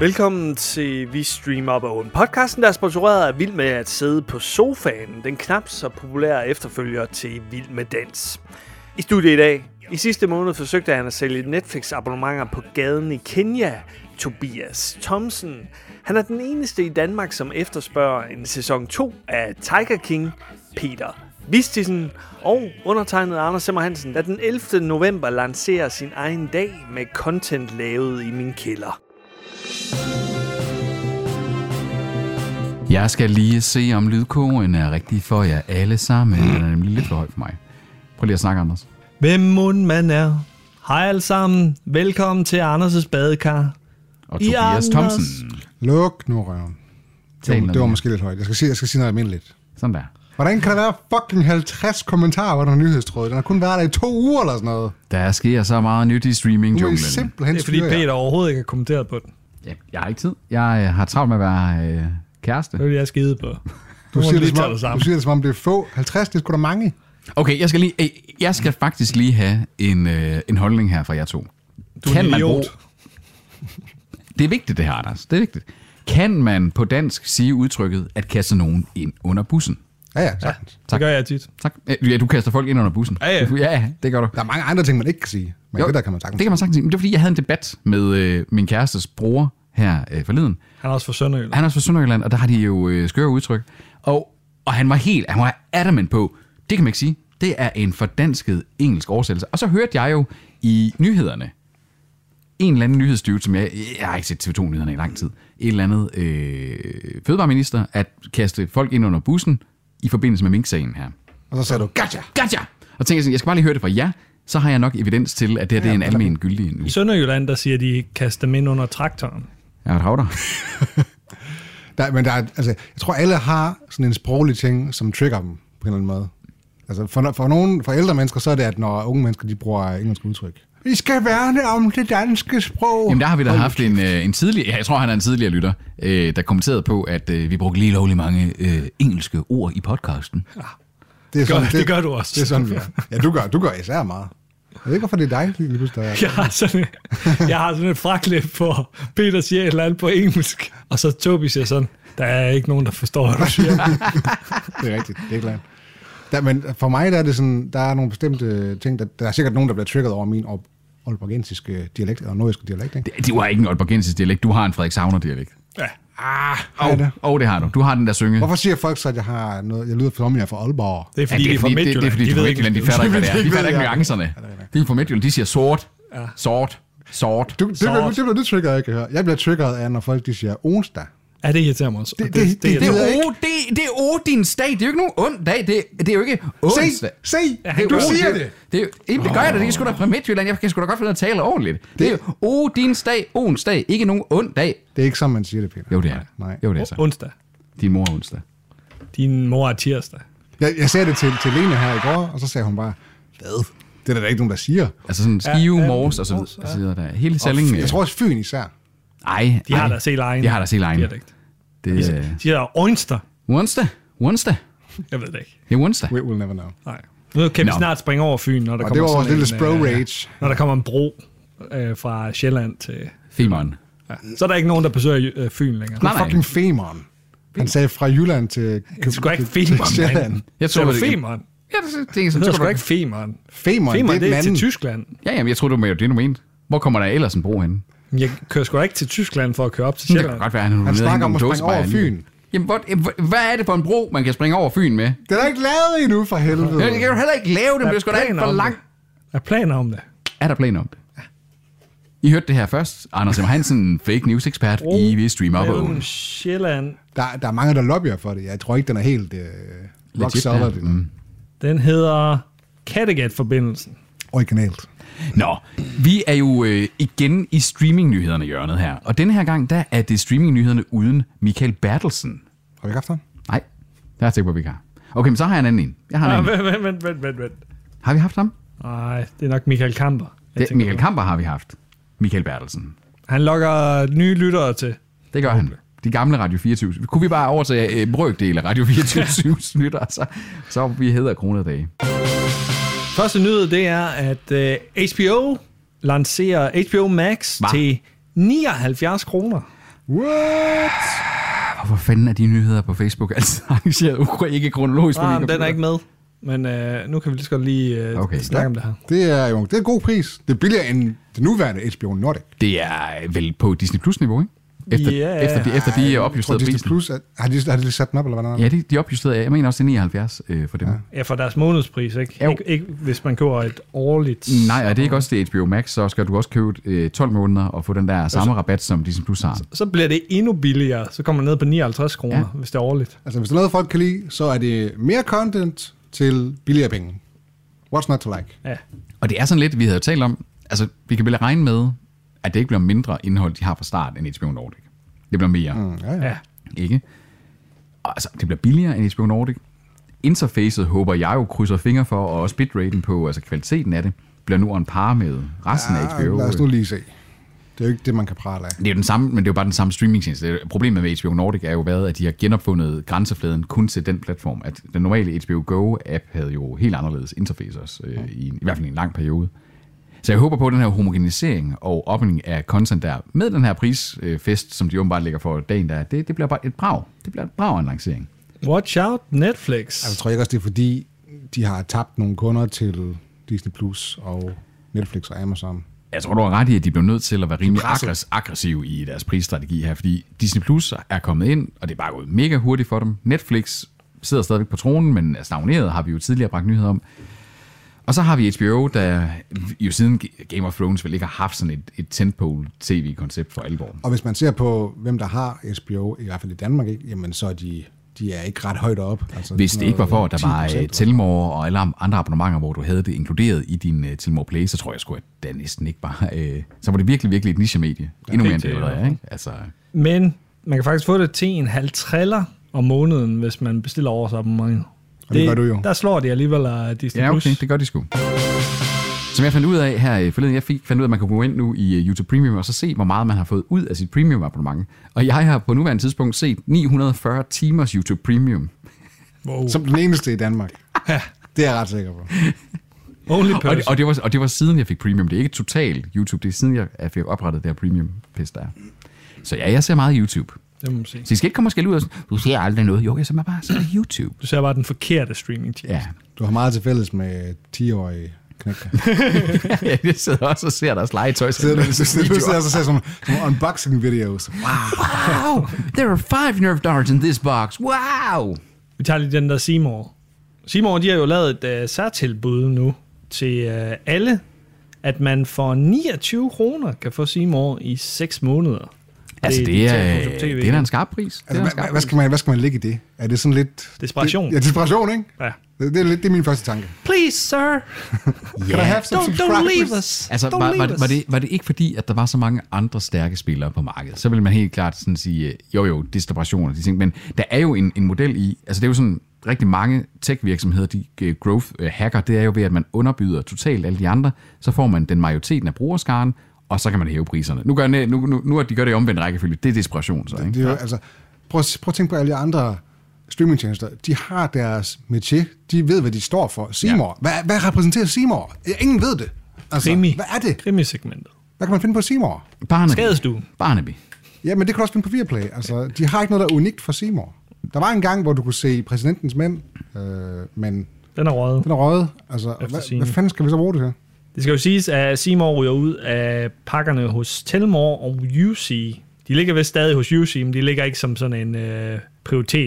Velkommen til Vi Streamer Up Own. Podcasten, der er sponsoreret af Vild med at sidde på sofaen. Den knap så populære efterfølger til Vild med Dans. I studiet i dag. I sidste måned forsøgte han at sælge Netflix-abonnementer på gaden i Kenya. Tobias Thomsen. Han er den eneste i Danmark, som efterspørger en sæson 2 af Tiger King, Peter Vistisen og undertegnet Anders Semmer Hansen, der den 11. november lancerer sin egen dag med content lavet i min kælder. Jeg skal lige se, om lydkogen er rigtig for jer alle sammen. Den er nemlig lidt for høj for mig. Prøv lige at snakke, Anders. Hvem mund man er. Hej alle sammen. Velkommen til Anders' badekar. Og I Tobias Anders. Thomsen. Luk nu røven. Det Tal var, noget det var mere. måske lidt højt. Jeg skal sige, jeg skal sige noget almindeligt. Sådan der. Hvordan kan der være fucking 50 kommentarer under nyhedstråd? Den har kun været der i to uger eller sådan noget. Der sker så meget nyt i Nu er I streaming-junglen. simpelthen Det er fordi styrer jer. Peter overhovedet ikke har kommenteret på den. Ja, jeg har ikke tid. Jeg øh, har travlt med at være øh, Det kæreste. vil jeg skide på. Du siger, det, lige som tage om, det du sammen. siger det som om, det er få. 50, det er sgu da mange. Okay, jeg skal, lige, øh, jeg skal faktisk lige have en, øh, en holdning her fra jer to. Du er en idiot. Det er vigtigt, det her, Anders. Det er vigtigt. Kan man på dansk sige udtrykket at kaste nogen ind under bussen? Ja, ja, sagtens. Ja. Det gør jeg tit. Tak. Øh, Ja, du kaster folk ind under bussen. Ja, ja. ja det gør du. Der er mange andre ting, man ikke kan sige. Men Jo, jo, det der kan man sagtens. Det kan man sagtens sige. Men det var fordi, jeg havde en debat med øh, min kærestes bror her øh, forleden. Han er også fra Sønderjylland. Han er også fra Sønderjylland, og der har de jo øh, skøre udtryk. Og, og han var helt, han var adamant på, det kan man ikke sige. Det er en fordansket engelsk oversættelse. Og så hørte jeg jo i nyhederne, en eller anden nyhedsstyve, som jeg, jeg har ikke set TV2-nyhederne i lang tid, et eller andet øh, fødevareminister, at kaste folk ind under bussen i forbindelse med minksagen her. Og så sagde du, gotcha! Gotcha! Og tænker jeg sådan, jeg skal bare lige høre det fra jer, så har jeg nok evidens til, at det her det er en almen gyldig nu. I Sønderjylland, der siger de, kast dem ind under traktoren. Jeg har et havder. Der, men der er, altså, jeg tror, alle har sådan en sproglig ting, som trigger dem på en eller anden måde. Altså, for, for, nogen, for ældre mennesker, så er det, at når unge mennesker, de bruger engelsk udtryk. Vi skal værne om det danske sprog. Jamen der har vi da haft en, øh, en tidligere, ja, jeg tror han er en tidligere lytter, øh, der kommenterede på, at øh, vi brugte lige lovlig mange øh, engelske ord i podcasten. Det, er Gør- det gør du også. Det er sådan, vi er. Ja, du gør, du gør især meget. Jeg ved ikke, hvorfor det er dig, lige pludselig, der er. Jeg har sådan, et- jeg har sådan et fraklip, hvor Peter siger et eller andet på engelsk. Og så Tobi siger sådan, der er ikke nogen, der forstår, hvad du siger. Det er rigtigt, det er klart. Der, men for mig der er det sådan, der er nogle bestemte ting, der, der er sikkert nogen, der bliver triggeret over min op olborgensiske dialekt, eller nordiske dialekt, ikke? Det, du har ikke en oldborgensisk dialekt, du har en Frederikshavner dialekt. Ja. Har jeg det? Åh, oh, det har du. Du har den der synge. Hvorfor siger folk så, at jeg har noget, jeg lyder som om, jeg er fra Aalborg? Det er fordi, ja, det er fra fordi, det, det er Midtjylland. fordi, de, de de, ved de, ikke, de, de hvad fatter ikke, hvad det er. De Det ved fatter ikke jeg. nuancerne. De er fra Midtjylland, de siger sort, sort, sort. Du, det, sort. bliver, det bliver du triggeret, jeg kan høre. Jeg bliver triggeret af, når folk de siger onsdag. det- Ja, det irriterer mig også. Og Det- det- det- Det irriterer mig. ved jeg er, o, det, det er Odins dag. Det er jo ikke nogen ond dag. Det, det er jo ikke Se, onsdag. se, han du gør siger det. det. Det, er jo- Jamen, det gør jeg da, det er sgu da fra Midtjylland. Jeg kan sgu da godt finde ud af at tale ordentligt. Det, er jo Odins dag, onsdag. Ikke nogen ond dag. Det er ikke sådan, man siger det, Peter. Jo, det er det. Nej. Jo, det er så. Onsdag. Din mor er onsdag. Din mor er tirsdag. Jeg, jeg sagde det til, til Lene her i går, og så sagde hun bare, hvad? Det er der da ikke nogen, der siger. Altså sådan Skive, ja, Ja, ja, Mors og så Mors, ja. videre. Ja. Der. Hele Og Sallingen. Fyn- jeg tror også Fyn især. Ej, De har ej. deres helt egen De har deres helt egen. dialekt. Det er øh, De siger, onsdag. onsdag. Onsdag. Jeg ved det ikke. Det er onsdag. We will never know. Nej. Nu kan vi Nå. snart springe over Fyn, når der Og det kommer var vores sådan lille en, sprog øh, rage. Når der kommer en bro øh, fra Sjælland til... Femeren. Ja. Så er der ikke nogen, der besøger øh, Fyn længere. Nej, nej. Fucking Femern. Han sagde fra Jylland til Det er sgu da ikke Femern, Sjælland. mand. Jeg Jeg tror, tror, det det er- er Femern. Ja, det er det, Det som er tror sgu da du ikke Femern. Femern, det Femern, er det den er til anden. Tyskland. Ja, jamen, jeg tror du mener, det er nummer en. Hvor kommer der ellers en bro henne? Men Jeg kører sgu da ikke til Tyskland for at køre op til Det kan Sjælland. godt være, han er nede og snakker hente om nogle at springe dåsebajer lige. over Fyn. Jamen, hvor, jamen, hvor- hvad er det for en bro, man kan springe over Fyn med? Det er der ikke lavet endnu, for helvede. Jeg kan jo heller ikke lave det, men det er sgu da ikke Øh. planer for om det. langt. Jeg planer om det. Er der planer om det? I hørte det her først. Anders M. Hansen, fake news ekspert Bro i Vi Streamer på Mellem Sjælland. Der, der er mange, der lobbyer for det. Jeg tror ikke, den er helt øh, rock Legit, solid. ja. Mm. Den hedder Kattegat-forbindelsen. Originalt. Nå, vi er jo øh, igen i streamingnyhederne hjørnet her. Og denne her gang, der er det streamingnyhederne uden Michael Bertelsen. Har vi ikke haft ham? Nej, der har jeg tænkt på, at vi ikke har. Okay, men så har jeg en anden en. Jeg har, en Ah, anden. vent, vent, vent, vent, vent, vent. har vi haft ham? Nej, det er nok Michael Kamper. jeg Det, tænker Michael på. Kamper har vi haft. Michael Bertelsen. Han lokker nye lyttere til. Det gør han. De gamle Radio 24. Kunne vi bare overtage øh, brøkdel af Radio 24 snytter, så, så var vi hedder kroner dage. Første nyhed, det er, at øh, HBO lancerer HBO Max Hva? til 79 kroner. What? Hvorfor fanden er de nyheder på Facebook Altså, altid arrangeret ukro- ikke kronologisk? på min Nej, Ah, men den er computer? ikke med. Men øh, nu kan vi lige så godt lige øh, Okay. okay. snakke om det her. Det er jo det er en god pris. Det er billigere end det nuværende HBO Nordic. Det er øh, vel på Disney Plus-niveau, ikke? Efter, Ja. efter, de, efter de er Jeg tror, opjusteret Disney prisen. Plus, er, har, de, har de lige sat den op, eller hvad der er? Ja, de, de er opjusteret. Jeg mener også, det er 79 øh, for dem. Ja. Ja, for deres månedspris, ikke? Jo. Ikke, ikke hvis man køber et årligt... Nej, og det er ikke også det er HBO Max, så skal du også købe øh, 12 måneder og få den Altså- der samme rabat, som Disney Plus har. Så bliver det endnu billigere. Så kommer man ned på 59 kroner, Ja. ja. hvis det er årligt. Altså, hvis der er noget, folk kan lide, så er det mere content til billigere penge. What's not to like? Ja. Og det er sådan lidt, vi havde jo talt om, altså vi kan vel regne med, at det ikke bliver mindre indhold, de har fra start, end HBO Nordic. Det bliver mere, mm. Mm, ja, ja. ja. ikke? Og, altså, det bliver billigere end HBO Nordic. Interfacet håber jeg jo krydser fingre for, og også bitraten på, altså kvaliteten af det, bliver nu on par med resten ja, af Ah, HBO. øh. lad os nu lige se. Det er jo ikke det, man kan prale af. Det er jo den samme, men det er jo bare den samme streamingtjeneste. Det er- Problemet med HBO Nordic er jo været, at de har genopfundet grænsefladen kun til den platform. At den normale HBO Go-app havde jo helt anderledes interface også, øh, i, en, i hvert fald i en lang periode. Så jeg håber på, at den her homogenisering og opning af content der, med den her prisfest, øh, fest, som de åbenbart lægger for dagen der, det, det bliver bare et brag. Det bliver et brag af en lancering. Watch out, Netflix. Altså, jeg tror ikke også, det er fordi, de har tabt nogle kunder til Disney Plus og Netflix og Amazon. Jeg tror, du har ret i, at de blev nødt til at være rimelig presset. aggress- aggressive i deres prisstrategi her, fordi Disney Plus er kommet ind, og det er bare gået mega hurtigt for dem. Netflix sidder stadigvæk på tronen, men er stagneret, har vi jo tidligere bragt nyheder om. Og så har vi HBO, der jo siden G- Game of Thrones vel ikke har haft sådan et, et tentpole-tv-koncept for alvor. Og hvis man ser på, hvem der har HBO, i hvert fald i Danmark, ikke? jamen så er de, de er ikke ret højt op. Altså, Hvis sådan det ikke var for, at der var 10%, øh, eller- Telmore og alle andre abonnementer, hvor du havde det inkluderet i din uh, Telmore Play, så tror jeg sgu, at det næsten ikke bare... Uh, så var det virkelig, virkelig et niche-medie. Endnu mere end det, det er allerede er, ikke? Altså, Men man kan faktisk få det til en halv triller om måneden, hvis man bestiller årsabonnement. Og det gør du jo. Der slår de alligevel uh, Disney+. Ja, Plus. okay, det gør de sgu. Som jeg fandt ud af her øh, forleden, jeg fik, fandt ud af, at man kunne gå ind nu i øh, YouTube Premium og så se, hvor meget man har fået ud af sit premium abonnement. Og jeg har på nuværende tidspunkt set 940 timers YouTube Premium. Wow. Som den eneste i Danmark. det er jeg ret sikker på. Only Og det, person. og, det var, og det var siden, jeg fik Premium. Det er ikke totalt YouTube, det er siden, jeg jeg fik oprettet det her Premium pis der. er. Så ja, jeg ser meget YouTube. Det må man sige. Så I skal ikke komme og skælde ud og sådan, du ser aldrig noget. Jo, jeg ser bare ser YouTube. Du ser bare den forkerte streaming Ja, Du har meget til fælles med 10-årige knækker. jeg sidder også og ser deres legetøj. Så du sidder du sidder og så ser sådan nogle unboxing-videos. Wow. Wow, there are five nerve darts in this box. Wow. Vi tager lige den der Seymour. Seymour, de har jo lavet et uh, særtilbud nu til uh, alle, at man for 29 kroner kan få Seymour i 6 måneder. Altså, det, digitalt er, YouTube TV. det er da en skarp pris. Det er da Altså, en hvad, skarp hvad, hvad, skal man, hvad skal man lægge i det? Er det sådan lidt... Desperation. Det, ja, desperation, ikke? Ja. Det, det, er lidt, det er min første tanke. Please, sir, pris. Kan I have some don't, don't subscribers? leave us. Altså, don't var, var, leave det, us. var, det, var det ikke fordi, at der var så mange andre stærke spillere på markedet? Så ville man helt klart sådan sige, øh, jo jo, distribution og de ting. Men der er jo en, en model i, altså det er jo sådan, rigtig mange tech-virksomheder, de øh, growth øh, hacker, det er jo ved, at man underbyder totalt alle de andre, så får man den majoriteten af brugerskaren, og så kan man hæve priserne. Nu, gør, ne- nu, nu, nu at de gør det i omvendt rækkefølge, det er desperation så, ikke? Det er jo, altså, prøv, at- prøv at tænke på alle de andre streamingtjenester. De har deres metier. De ved, hvad de står for. Seymour. Ja. Hvad, hvad repræsenterer Seymour? Ja, Ingen ved det. Altså, Krimi. Hvad er det? Krimisegmentet. Hvad kan man finde på Seymour? Barnaby. Skadestuen. Barnaby. Ja, men det kan du også finde på Viaplay. Altså, de har ikke noget, der er unikt for Seymour. Der var en gang, hvor du kunne se præsidentens mænd, øh, men Den er røget. den er røget. Altså, Efter hvad, sigende. hvad fanden skal vi så bruge det her? Det skal jo siges, at Seymour ryger ud af pakkerne hos Telmore og UC. De ligger vist stadig hos UC, men de ligger ikke som sådan en øh,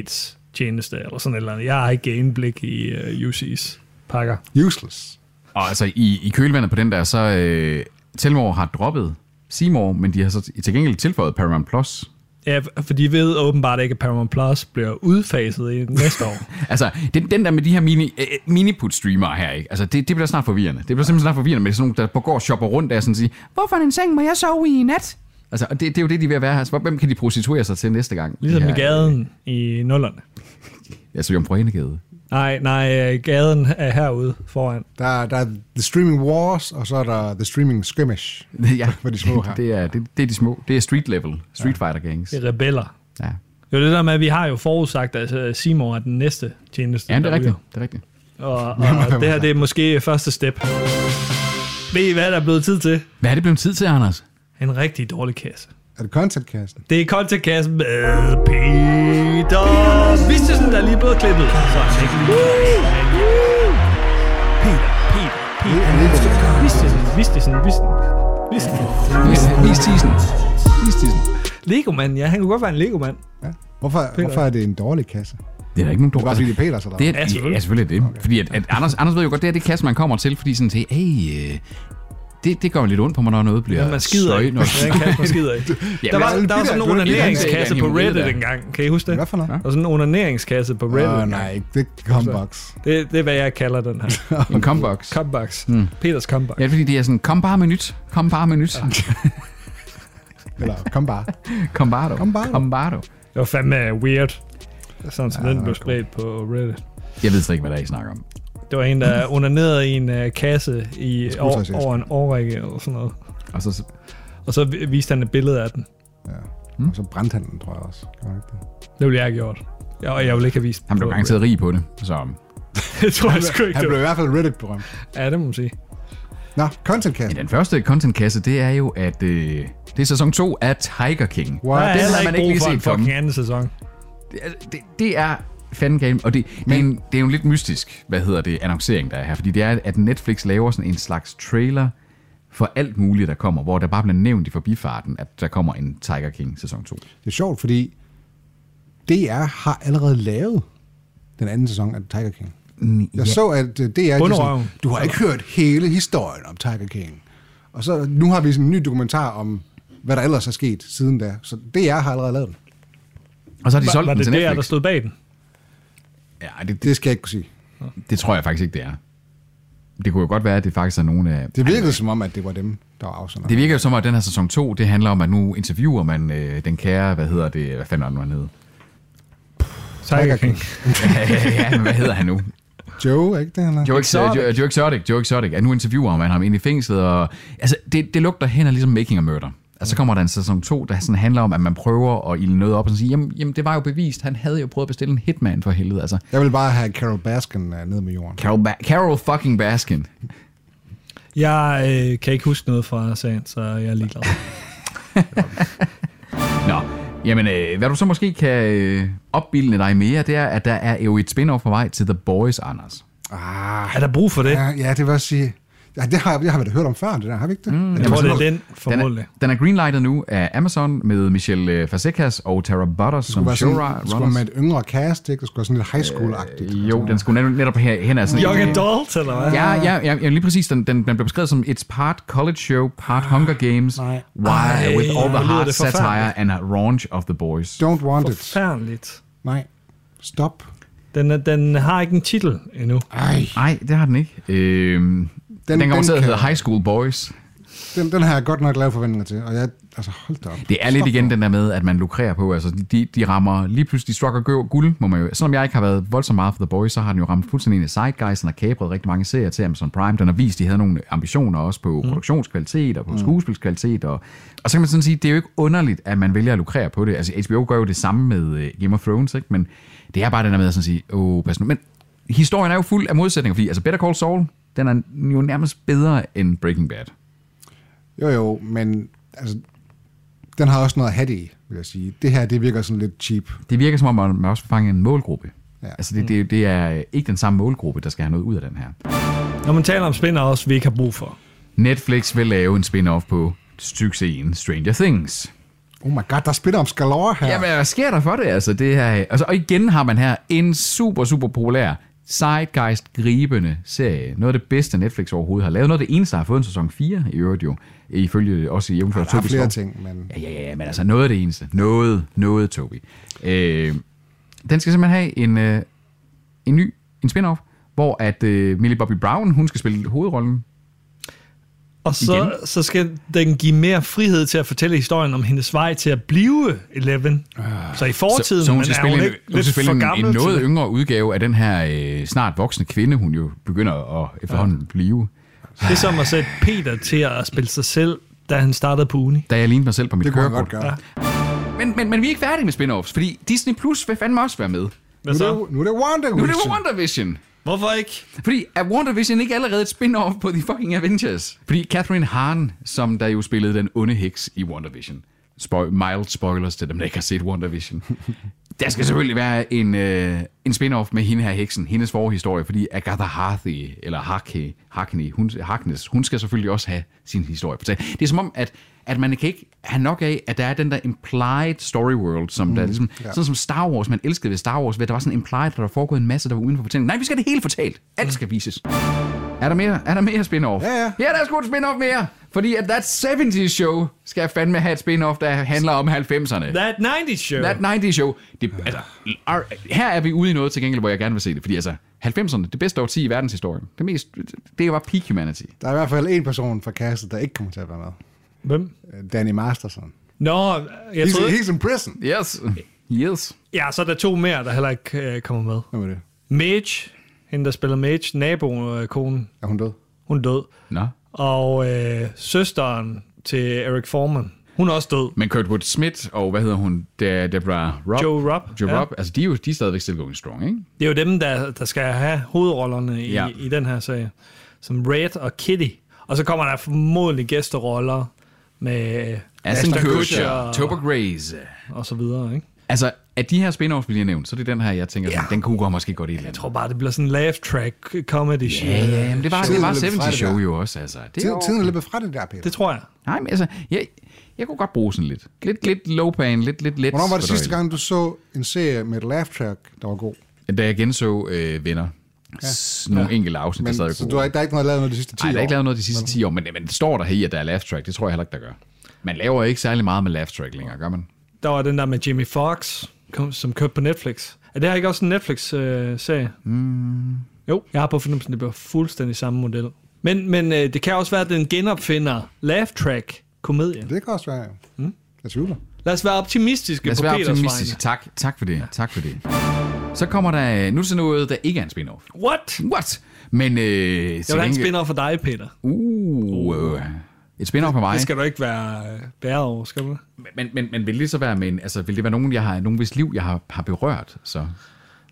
prioritetstjeneste eller sådan et eller andet. Jeg har ikke indblik i øh, UC's pakker. Useless. Og altså i, i kølvandet på den der, så øh, Telmore har droppet Seymour, men de har så til gengæld tilføjet Paramount Plus. Ja, f- for de ved åbenbart ikke, at Paramount Plus bliver udfaset i næste år. Altså, den, den der med de her mini, øh, miniput-streamere her, ikke? Altså, det, det bliver snart forvirrende. Det bliver simpelthen snart forvirrende med sådan nogle, der går og shopper rundt af sådan og siger, hvorfor en seng må jeg sove i i nat? Altså, og det, det er jo det, de er ved at være her. Altså, hvor- hvem kan de prostituere sig til næste gang? Ligesom de i her, gaden i nullerne. øh, Altså, Jomfru Enegade. Nej, nej, øh, gaden er herude foran. Der, der er The Streaming Wars, og så er der The Streaming Skirmish. ja, For de små her. det, er, det, det er de små. Det er street level. Street fighter gangs. Det er rebeller. Ja, Det er jo det der med, at vi har jo forudsagt, at øh, Seymour er den næste tjeneste. ja det er der ryger. rigtigt. Det er rigtigt. Og, og det her, det er måske første step. Ved I, hvad der er blevet tid til? Hvad er det blevet tid til, Anders? En rigtig dårlig kasse. Er det contentkassen? Det er contentkassen med Peter Vistesen, der er lige blevet klippet. Så er han ikke lige Peter, Peter, Peter. Vistesen, Vistesen, Vistesen. Vistesen. Istisen. Istisen. Legomand, ja. Han kunne godt være en legomand. Ja. Hvorfor, hvorfor er det en dårlig kasse? Det er der ikke nogen Det er bare dårlig. fordi, det er Peters, eller Det er, hvad? ja, Ja, selvfølgelig. selvfølgelig. Ja, selvfølgelig er det. Okay. Fordi at, at Anders, Anders ved jo godt, det er det kasse, man kommer til, fordi sådan til, hey, øh, det, det gør lidt ondt på mig, når noget bliver Men man skider sløjt, ikke. Når, Ja, en kasse, man skider ikke. Der var, der var sådan en onaneringskasse på Reddit engang. Kan I huske det? Hvad for noget? Ja. Der var sådan en onaneringskasse på Åh, Reddit. oh, nej, det er Combox. Det, det er, hvad jeg kalder den her. en combox. Comebacks. Mm. Peters comeback. Ja, det er fordi det er sådan, kom bare med nyt, kom bare med nyt, Eller kom bare. kom bare dog, Kom bare dog. kom bare dog. Det var fandme weird. Sådan som Ja, ja, det den var blev spredt på Reddit. Jeg ved slet ikke, hvad der er, I snakker om. Det var en, der onanerede i en uh, kasse i, Skuespilsæske. over, over en årrække eller sådan noget. Og så, Og så vi- viste han et billede af den. Ja. Og så brændte han den, tror jeg også. Kan man ikke det? Det ville jeg have gjort. Jeg, og jeg ville ikke have vist den han blev på garanteret rig på det, så um, Reddit. Det tror jeg sgu ikke. Han det blev var. i hvert fald Reddit-berømt. Ja, det må man sige. Nå, Men contentkassen. den første contentkasse, det er jo, at øh, det er sæson 2 af Tiger King. Der What? er den heller har man ikke ikke lige brug for en set komme. fucking anden sæson. Det, er- Altså, det, det er fanden game, og det, det, er en, det er jo en lidt mystisk, hvad hedder det, annoncering, der er her. Fordi det er, at Netflix laver sådan en slags trailer for alt muligt, der kommer, hvor der bare bliver nævnt i forbifarten, at der kommer en Tiger King sæson 2. Det er sjovt, fordi DR har allerede lavet den anden sæson af Tiger King. Jeg så, at øh, DR... de Bunderøven. sådan, du har ikke hørt hele historien om Tiger King. Og så nu har vi sådan en ny dokumentar om, hvad der ellers er sket siden da. Så DR har allerede lavet den. Og så har de Var, solgt var den det til der, der Netflix. stod bag den? Ja, det, Det skal jeg ikke kunne sige. det, det tror jeg faktisk ikke, det er. Det kunne jo godt være, at det faktisk er nogle af... Det virkede som om, at det var dem, der var afsender. Det virker jo som om, at den her sæson 2, det handler om, at nu interviewer man øh, den kære, hvad hedder det, hvad fanden var det nu, han hed? Tiger King. ja, men hvad hedder han nu? Joe, er ikke det, han er? Joe Exotic. Joe, Joe Exotic, Joe Exotic. At nu interviewer man ham ind i fængslet, og altså, det, det lugter hen af ligesom Making a Murder. Og så kommer der en sæson 2, der sådan handler om, at man prøver at ilde noget op og sige, jamen, jamen det var jo bevist, han havde jo prøvet at bestille en hitman for helvede. Altså, Jeg vil bare have Carol Baskin øh, ned med jorden. Carol, ba- Carol fucking Baskin. Jeg øh, kan ikke huske noget fra sagen, så jeg er ligeglad. Nå, jamen, øh, hvad du så måske kan øh, opbilde dig mere, det er, at der er jo et spin-off på vej til The Boys, Anders. Ah, Er der brug for det? ja, ja, det vil jeg også sige. Ja, det har, det har vi da hørt om før, det der, har vi ikke det? Mm, Jeg tror, det er den, formodentlig. Den er greenlightet nu af Amazon med Michelle øh, Fazekas og Tara Butters det som var sådan, det skulle showrunners. Øh, med et yngre cast, ikke? Det skulle være sådan lidt high school-agtigt. Jo, den skulle net- netop her, hen af sådan Young Adult, eller hvad? Ja, ja, ja, ja, lige præcis. Den, den, den blev beskrevet som It's part college show, part Hunger Games, Ah, nej. why, Ej, with all hvor the lyder hard det satire forfærdeligt. and a raunch of the boys. Don't want it. Forfærdeligt. Nej. Stop. Den, er- den har ikke en titel endnu. Ej. Nej, det har den ikke. Øhm, den, den kommer den til at kan- hedde High School Boys. Den, den har jeg godt nok lave forventninger til. Og jeg, altså, hold da op. Det er lidt igen den der med, at man lukrerer på. Altså, de, de rammer lige pludselig, de strucker gø- guld, må man jo. Selvom jeg ikke har været voldsomt meget for The Boys, så har den jo ramt fuldstændig ind i Zeitgeist. Den har kabret rigtig mange serier til Amazon Prime. Den har vist, de havde nogle ambitioner også på mm. produktionskvalitet og på mm. skuespilskvalitet. Og, og så kan man sådan sige, det er jo ikke underligt, at man vælger at lukrere på det. Altså, HBO gør jo det samme med øh, Game of Thrones, ikke? men det er bare den der med at sådan sige, åh, pas nu. Men historien er jo fuld af modsætninger, fordi altså Better Call Saul, den er jo nærmest bedre end Breaking Bad. Jo, jo, men altså, den har også noget at have det i, vil jeg sige. Det her, det virker sådan lidt cheap. det virker som om, at man også fanger en målgruppe. Ja. Ja. Altså, det, det, det er ikke den samme målgruppe, der skal have noget ud af den her. Når man taler om spin-offs, vi ikke har brug for. Netflix vil lave en spin-off på succesen Stranger Things. Oh my god, der spiller om Skalore her. Ja. Jamen, hvad sker der for det? Altså, det her, altså, og igen har man her en super, super populær zeitgeist-gribende serie. Noget af det bedste, Netflix overhovedet har lavet. Noget af det eneste, der har fået en sæson 4 i øvrigt jo. Ifølge også i Hjemmefra der er flere ting, men... Ja, ja, ja, men altså noget af det eneste. Noget, noget, Tobi. Øh, den skal simpelthen have en, øh, en ny, en spin-off, hvor at øh, Millie Bobby Brown, hun skal spille hovedrollen. Og så, så skal den give mere frihed til at fortælle historien om hendes vej til at blive Eleven. Så i fortiden, så, Ah. så hun men skal er spille, hun en, ikke hun lidt skal spille for en, gammel en til noget det? yngre udgave af den her øh, snart voksne kvinde, hun jo begynder at efterhånden ja. blive. Det er som at sætte Peter til at spille sig selv, da han startede på uni. Da jeg lignede mig selv på mit Det kunne han kørekort. godt gøre. Ja. Men, men, men vi er ikke færdige med spin-offs, fordi Disney Plus vil fandme også være med. Nu, Hvad er så? det, nu er det Wonder Nu er det jo WandaVision. Hvorfor ikke? Fordi er WandaVision ikke allerede et spin-off på The fucking Avengers? Fordi Catherine Hahn, som der jo spillede den onde heks i WandaVision, Spoil- mild spoilers til dem, der ikke har set WandaVision. Der skal selvfølgelig være en, øh, en spin-off med hende her heksen, hendes forhistorie, fordi Agatha Harthy, eller Harkey, Harkney, hun, Harkness, hun skal selvfølgelig også have sin historie fortalt. Det er som om, at, at man kan ikke have nok af, at der er den der implied story world, som mm, der ligesom, ja. sådan som Star Wars, man elskede ved Star Wars, ved at der var sådan implied, at der var foregået en masse, der var uden for fortællingen. Nej, vi skal have det hele fortalt. Alt skal vises. Er der mere, er der mere spin-off? Ja, ja. Ja, der er sgu et spin-off mere. Fordi at That 70's Show skal fandme have et spin-off, der handler om 90'erne. That 90's show. That 90's Show. Det, altså, er, her er vi ude i noget til gengæld, hvor jeg gerne vil se det. Fordi altså, 90'erne, det bedste årti i verdenshistorien. Det, mest, det var peak humanity. Der er i hvert fald en person fra kastet, der ikke kommer til at være med. Hvem? Øh, Danny Masterson. Nå, jeg He's, troede... he's in prison. Yes. Yes. Ja, så er der to mere, der heller ikke øh, kommer med. Hvem er det? Mage, hende der spiller Mage, nabokonen, Er hun død? hun er død. Nå. Og øh, søsteren til Eric Foreman, hun er også død. Men Kurtwood Smith og hvad hedder hun? De, Deborah Robb. Joe Robb, Joe ja. Robb. Altså, de er jo de er stadigvæk still going strong, ikke? Det er jo dem, der, der skal have hovedrollerne i, Ja. ja. i den her serie. Som Red og Kitty. Og så kommer der formodentlig gæsteroller med Aston Ashton Kutcher, Topher Grace. og så videre, ikke? Altså, af de her spin-offs, vi lige har nævnt, så er det den her, jeg tænker, ja. den kunne godt måske godt i Jeg tror bare, det bliver sådan en laugh track comedy shit. Ja, ja, men det var, det var Tiden løb fra 70 det show der. jo også, altså. Det er Tiden, jo- tiden er løbet fra det der, Peter. Det tror jeg. Nej, men altså, jeg, jeg kunne godt bruge sådan lidt. Lidt, lidt low pain, lidt, lidt let. Hvornår var det sidste fordøjeligt. gang, du så en serie med et laugh track, der var god? Da jeg genså øh, Venner. Ja. Nogle ja. enkelte afsnit, der Men, stadig er så gode. du har, ikke- der er ikke noget lavet noget de sidste 10 Nej, der er år? ikke lavet noget de sidste 10 år, men, men det står der her i, at der er laugh track. Det tror jeg heller ikke, der gør. Man laver ikke særlig meget med laugh track længere, gør man? Der var den der med Jimmy Fox, kom, som kørte på Netflix. Er det her ikke også en Netflix-serie? Øh, mm. Jo, jeg har på fornemmelsen, det bliver fuldstændig samme model. Men, men øh, det kan også være, at den genopfinder laugh track komedien. Det kan også være, ja. Hmm? Mm. Jeg tvivler. Lad os være optimistiske Lad os på være Peters optimistisk. Tak, tak for det. Ja. Tak for det. Så kommer der øh, nu til noget, der ikke er en spin-off. vegne. What? What? Men øh, Jeg til vil have en gengæld- spin for dig, Peter. Uh, øh, et spin-off af mig. Det skal du ikke være øh, bæret over, skal du? Men, men, men vil det så være med en, altså vil det være nogen, jeg har, nogen hvis liv, jeg har, har berørt, så,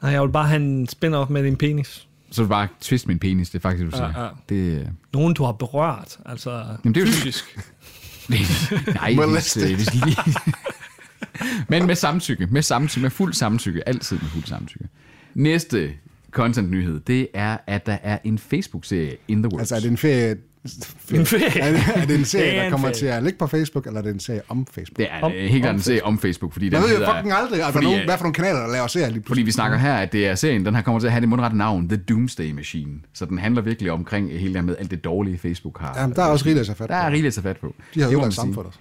Nej, jeg vil bare have en spin-off med din penis. så er det bare twist min penis, det er faktisk det, du siger. Ja, ja. Det, øh, Nogen, du har berørt, altså Jamen, det er jo- fysisk. nej, hvis, Molested. øh, hvis lige... men med samtykke, med samtykke, med fuld samtykke, altid med fuld samtykke. Næste content-nyhed, det er, at der er en Facebook-serie in the works. Altså, er det en ferie... En ferie. Er det, er det en serie, Det er der en kommer ferie. til at ligge på Facebook, eller er det en serie om Facebook? det er om, helt klart en serie om Facebook, fordi Man den ved jo hedder- fucking aldrig, altså, fordi, nogen, øh, hvad for nogle kanaler, der laver serier lige Fordi pludselig. vi snakker her, at det er serien, den her kommer til at have det mundrette navn, The Doomsday Machine. Så den handler virkelig omkring hele det her med alt det dårlige, Facebook har. Jamen, der er også rigeligt at tage fat Der er på. rigeligt at tage fat på. De har Det må ødelagt man sige. samfundet.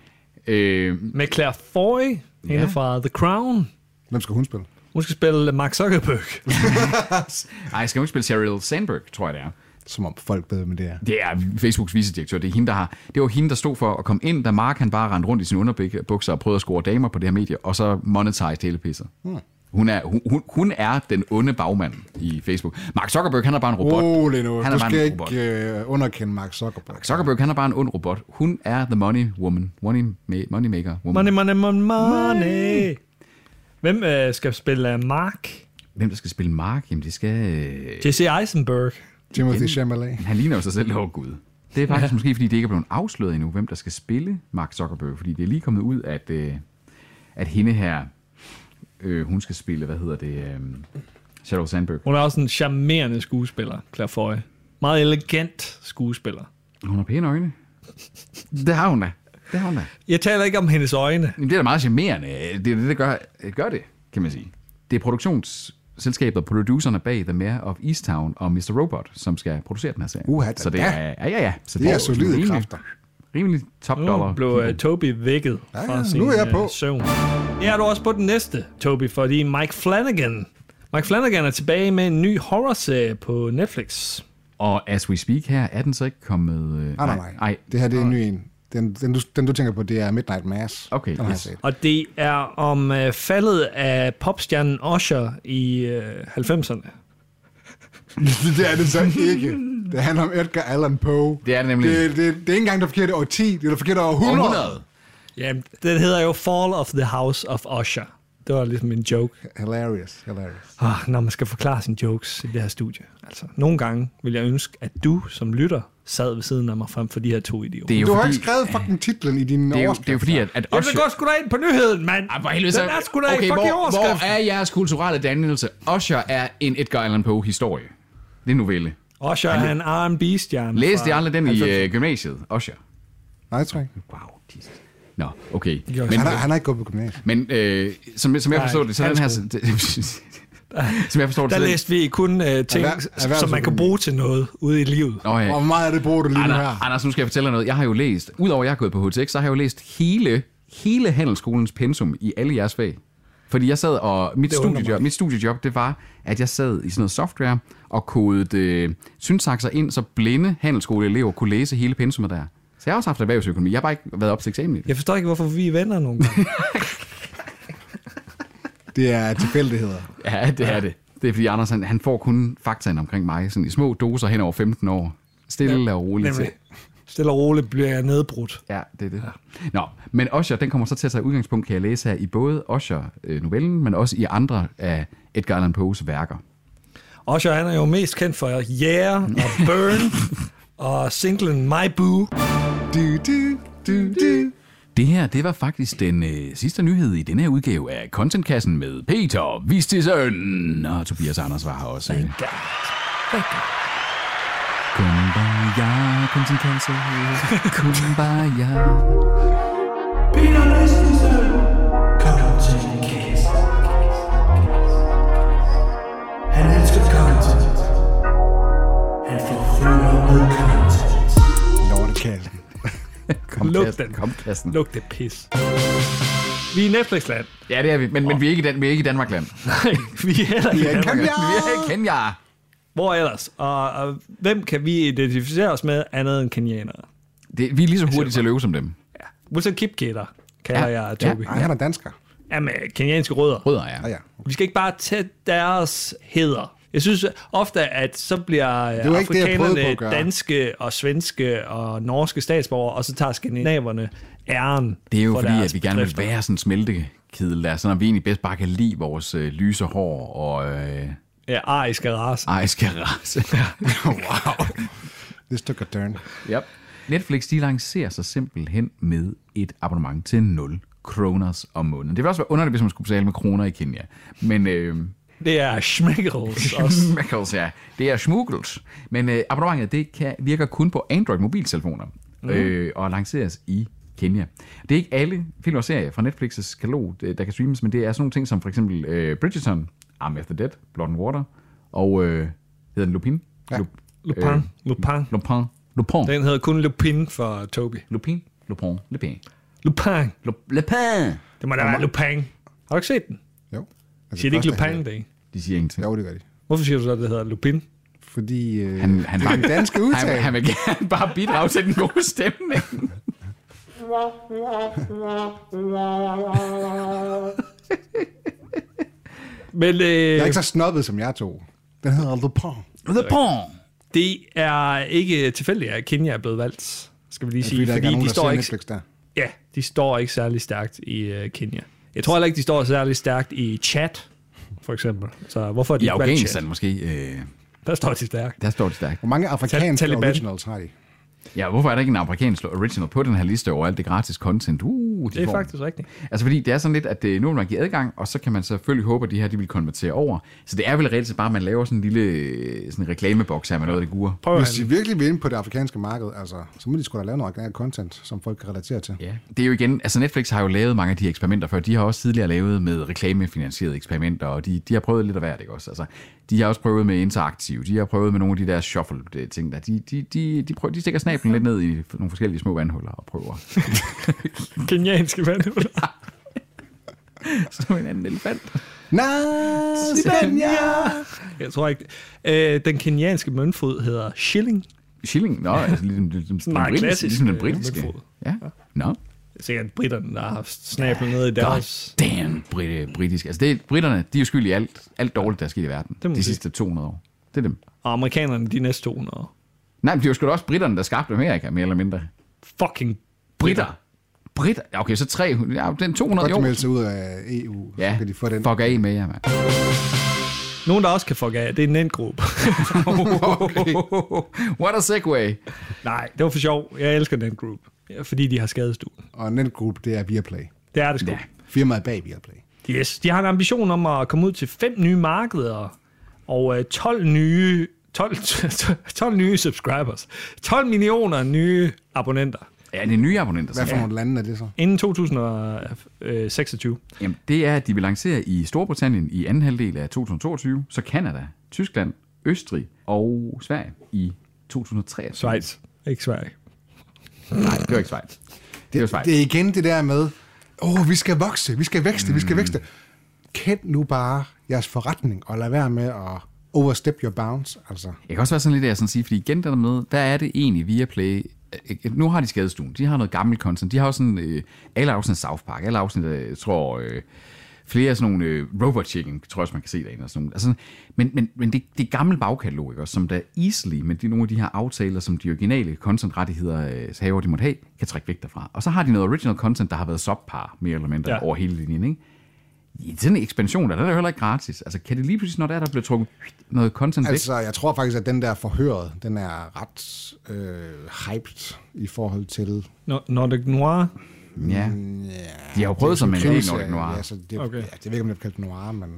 Øh, Med Claire Foy, ja. hende fra The Crown. Hvem skal hun spille? Hun skal spille Mark Zuckerberg. Øh, ej, skal hun ikke spille Sheryl Sandberg, tror jeg det er. Som om folk ved, men det er. Det er Facebooks vicedirektør. Det, er hende, der har, det var hende, der stod for at komme ind, da Mark han bare rendte rundt i sine underbukser og prøvede at score damer på det her medie, og så monetized hele pisset. Hun er, hun- hun, hun er den onde bagmand i Facebook. Mark Zuckerberg, han er bare en robot. Rolig nu. Han er Du bare skal en robot. ikke øh, underkende Mark Zuckerberg. Zuckerberg, han er bare en ond robot. Hun er the money woman. Money, ma- money maker woman. Money, money, money, money. Hvem øh, skal spille øh, Mark? Hvem der skal spille Mark? Jamen, det skal... Øh... Jesse Eisenberg. Timothy Chalamet. Han ligner jo sig selv over Gud. Det er faktisk ja. måske, fordi det ikke er blevet afsløret endnu, hvem der skal spille Mark Zuckerberg. Fordi det er lige kommet ud, at, øh, at hende her, øh, hun skal spille, hvad hedder det, øh, Sheryl Sandberg. Hun er også en charmerende skuespiller, Claire Foy. Meget elegant skuespiller. Hun har pæne øjne. Det har hun da. Det har hun da. Jeg taler ikke om hendes øjne. Jamen, det er da meget charmerende. Det er det, der gør, gør det, kan man sige. Det er produktionsselskabet, producerne bag The Mayor of Easttown og Mr. Robot, som skal producere den her serie. Uha, da så det da. er, ja, ja, ja. Så Det er solide kræfter. Rimelig top dollar. Nu blev uh, Toby vækket ja, ja, fra sin nu er jeg øh, på. søvn. Ja, er du også på den næste, Toby, fordi Mike Flanagan. Mike Flanagan er tilbage med en ny horrorserie på Netflix. Og as we speak her, er den så ikke kommet... Øh, Ah, Nej, nej, nej. nej. Det her, det er en ny en. Den, den, du, den, du tænker på, det er Midnight Mass. Okay, den har yes. jeg set. Og det er om øh, faldet af popstjernen Usher i øh, 90'erne. det er det så ikke. Det handler om Edgar Allan Poe. Det er det nemlig. Det, det, det er ikke engang det forkerte årti, det er det forkerte århundrede. Århundrede. Jamen, den hedder jo Fall of the House of Usher. Det var ligesom en joke. Ah, Hilarious, hilarious. Oh, når man skal forklare sine jokes i det her studie. Altså, nogle gange vil jeg ønske, at du som lytter sad ved siden af mig frem for de her to idioter. Det er jo Du har fordi, ikke skrevet fucking titlen i din det er jo, overskrift. det er jo fordi, at, at Jeg vil Usher... gå sgu da ind på nyheden, mand! Ej, for helvede, så... Den er sgu da okay, okay, fucking hvor, overskrift! hvor er jeres kulturelle dannelse? Usher er en Edgar Allan Poe-historie. Det er en novelle. Usher er en R&B-stjerne. Læste fra- jeg aldrig den Altså- i øh, gymnasiet? Usher. Nej, jeg tror ikke. Wow, Jesus. Nå, okay. Jo, Men, Han har, han har ikke gået på gymnasiet. men øh, som, som jeg Nej, forstår det, så er den her... som jeg forstår det, Der så er den- læste vi kun øh, ting, Erhverv- som man kan bruge til noget ude i livet. Nå, ja. Hvor meget er det bruger du lige nu her? Anders, Anders, nu skal jeg fortælle dig noget. Jeg har jo læst, udover at jeg har gået på HTX, så har jeg jo læst hele, hele handelsskolens pensum i alle jeres fag. Fordi jeg sad, og mit Det undrer mig studiejob, mit studiejob, det var, at jeg sad i sådan noget software og kodede øh, syntakser ind, så blinde handelsskoleelever kunne læse hele pensummet der. Så jeg har også haft erhvervsøkonomi. Jeg har bare ikke været op til eksamen i det. Jeg forstår ikke, hvorfor vi er venner nogle gange. Det er tilfældigheder. Ja, det er det. Det er fordi Anders, han, han får kun faktaen omkring mig, sådan i små doser hen over 15 år. Stille og roligt. til. Nemlig. Altså, Stille og roligt bliver jeg nedbrudt. Ja, det er det. Ja. Nå, men Osher, den kommer så til at tage udgangspunkt, kan jeg læse her, i både Osher-novellen, men også i andre af Edgar Allan Poes værker. Usher, han er jo mest kendt for Yeah og Burn og singlen My Boo. Du, du, du, du. Det her, det var faktisk den øh, sidste nyhed i denne her udgave af Contentkassen med Peter Vistisen. Og Tobias Anders var her også. Thank God. Kumbaya, Contentkasse, kumbaya. Peter Christensen. Kom til en kæs. Han elsker content. Han forfører med content. Lortekassen. Kom, Luk kassen, den. Kom, kassen. Luk det pis. Vi er i Netflix-land. Ja, det er vi, men, men vi er ikke i, Dan- vi er ikke i Danmark-land. Nej, vi er heller ikke i Danmark. Vi er i Kenya. Hvor ellers? Og, og hvem kan vi identificere os med andet end kenianere? Det, vi er lige så hurtige til at løbe som dem. Wilson Kipketer kalder Ja. ja. jeg Tobi. Nej, han er dansker. Ah, Ja. med kenianske rødder. Rødder, ja. Ja, ja. Vi skal ikke bare tage deres heder. Jeg synes ofte, at så bliver øh, var ikke det, jeg prøvede på at afrikanerne gøre. danske og svenske og norske statsborgere, og så tager skandinaverne æren Det er jo for fordi, deres at vi gerne vil bedrifter. være sådan en smeltekedel der, sådan at vi egentlig bedst bare kan lide vores øh, lyse hår og øh, Ja, ariske raser. ariske race. wow. This took a turn. Yep. Netflix, de lancerer sig simpelthen med et abonnement til 0 kroners om måneden. Det ville også være underligt, hvis man skulle betale med kroner i Kenya. Men øh, Det er schmeckles også. Øh. Michaels, ja. det er smuggles. Men øh, abonnementet, det kan, virker kun på Android-mobiltelefoner Mhm. mm. øh, og lanceres i Kenya. Det er ikke alle film og serier fra Netflix' katalog, øh, der kan streames, men det er sådan nogle ting som for eksempel øh, Bridgerton, Arm After Dead, Blood and Water og øh, hedder den Lupin? Ja. Lup, Lupin. Lupin. Lupin. Lupin. Den hedder kun Lupin for Toby. Lupin. Lupin. Lupin. Lupin. Lup- Lupin. Det må da være Lupin. Har du ikke set den? Jo. Altså, Siger det ikke første Lupin, det er ikke? De siger ingenting. Jo, det gør de. Hvorfor siger du så, at det hedder Lupin? Fordi øh, Han, han, det er han, den danske han, udtale. han vil gerne bare bidrage til den gode stemning. Men Jeg er øh, ikke så snobbet som jeg to. Den hedder Lupin. Lupin. det er ikke tilfældigt, at Kenya er blevet valgt, skal vi lige Fordi sige. der ikke er Fordi nogen, de der ser står ikke, Netflix der. ja, de står ikke særlig stærkt i øh, Kenya. Jeg tror heller ikke, de står særlig stærkt i Chad, for eksempel. Så hvorfor er de I ikke valgt Chad? Afghanistan måske. Øh, Der står de stærkt. der står det stærkt. Hvor mange afrikanske Taliban. originals har de? Ja, hvorfor er der ikke en amerikansk original på den her liste over alt det gratis content? Uh, de Det er får. faktisk rigtigt. Altså fordi det er sådan lidt, at øh, nu vil man give adgang, og så kan man selvfølgelig håbe, at de her de vil konvertere over. Så det er vel reelt set bare, at man laver sådan en lille øh, sådan en reklameboks her med noget af det gure. Prøv at Hvis de virkelig vil ind på det afrikanske marked, altså, så må de sgu da lave noget original content, som folk kan relatere til. Ja. Det er jo igen, altså Netflix har jo lavet mange af de eksperimenter før. De har også tidligere lavet med reklamefinansierede eksperimenter, og de, de har prøvet lidt af hvert, ikke også? Altså, de har også prøvet med interaktiv, de har prøvet med nogle af de der shuffle-ting der. De, de, de, de, prøver, de stikker snablen lidt ned i nogle forskellige små vandhuller og prøver. Kenyanske vand. Som en anden elefant. Tanzania! Jeg tror ikke. Øh, den kenyanske møntfod hedder shilling. Shilling? Nå, altså ligesom, ligesom, den, meget britiske, klassisk, ligesom den øh, britiske. møntfod. Ja. Nå. Det er sikkert britterne, der har haft snablen ned i God deres... damn, brit, britisk. Altså, det, er- britterne, de er jo skyld i alt, alt dårligt, der er sket i verden. Det må De man sige. sidste 200 år. Det er dem. Og amerikanerne de næste 200 år. Nej, men det er jo sgu da også britterne, der skabte Amerika, mere eller mindre. Fucking Britter. Britter. Ja, Okay, så 300. Ja, den 200 Godt, jo. de meldte sig ud af EU, E så Ja, kan de få den. fuck af med jer, mand. Nogen, der også kan fuck af, det er en anden gruppe. Okay. What a segue. Nej, det var for sjov. Jeg elsker den group, ja, fordi de har skadestuen. Og netgruppe, det er Viaplay. Det er det sgu. Ja. Firmaet bag Viaplay. Yes, de har en ambition om at komme ud til fem nye markeder og øh, 12 nye 12, 12 nye subscribers. 12 millioner nye abonnenter Ja, det er nye abonnenter. Hvad for så. nogle lande er det så? inden 2026. Jamen, det er, at de vil lancere i Storbritannien i anden halvdel af 2022, så Kanada, Tyskland, Østrig og Sverige i 2023. Schweiz. Ikke Sverige. Nej, det var ikke Schweiz. Det, det var Schweiz. Det er igen det der med, åh, oh, vi skal vokse, vi skal vækste, mm. vi skal vækste. Kend nu bare jeres forretning, og lad være med at overstep your bounds. Altså, Jeg kan også være sådan lidt af at sådan sige, fordi igen det der med, hvad er det egentlig via Play? Nu har de skadestuen, de har noget gammelt content, de har også sådan, øh, alle afsnit af South Park, alle afsnit af, jeg tror, øh, flere af sådan nogle øh, Robot Chicken, tror jeg også, man kan se derinde. Og sådan nogle. Altså, men men, men det, det er gammelt bagkatalog, ikke også, som der easily, men de, nogle af de her aftaler, som de originale content-rettigheder øh, haver, de måtte have, kan trække væk derfra. Og så har de noget original content, der har været subpar, mere eller mindre, Ja. ja. over hele linjen, ikke? I sådan en ekspansion, der er det heller ikke gratis. Altså, kan det lige pludselig, når der, er, der bliver trukket noget content væk? altså, jeg tror faktisk, at den der forhøret, den er ret øh, hyped i forhold til Nor- Nordic Noir. Mm, Ja. De har jo prøvet sig med en Krimserie. del Nordic Noir. Ja, så det, Okay. okay. ja, det ved jeg ikke, om det bliver kaldt noir, men...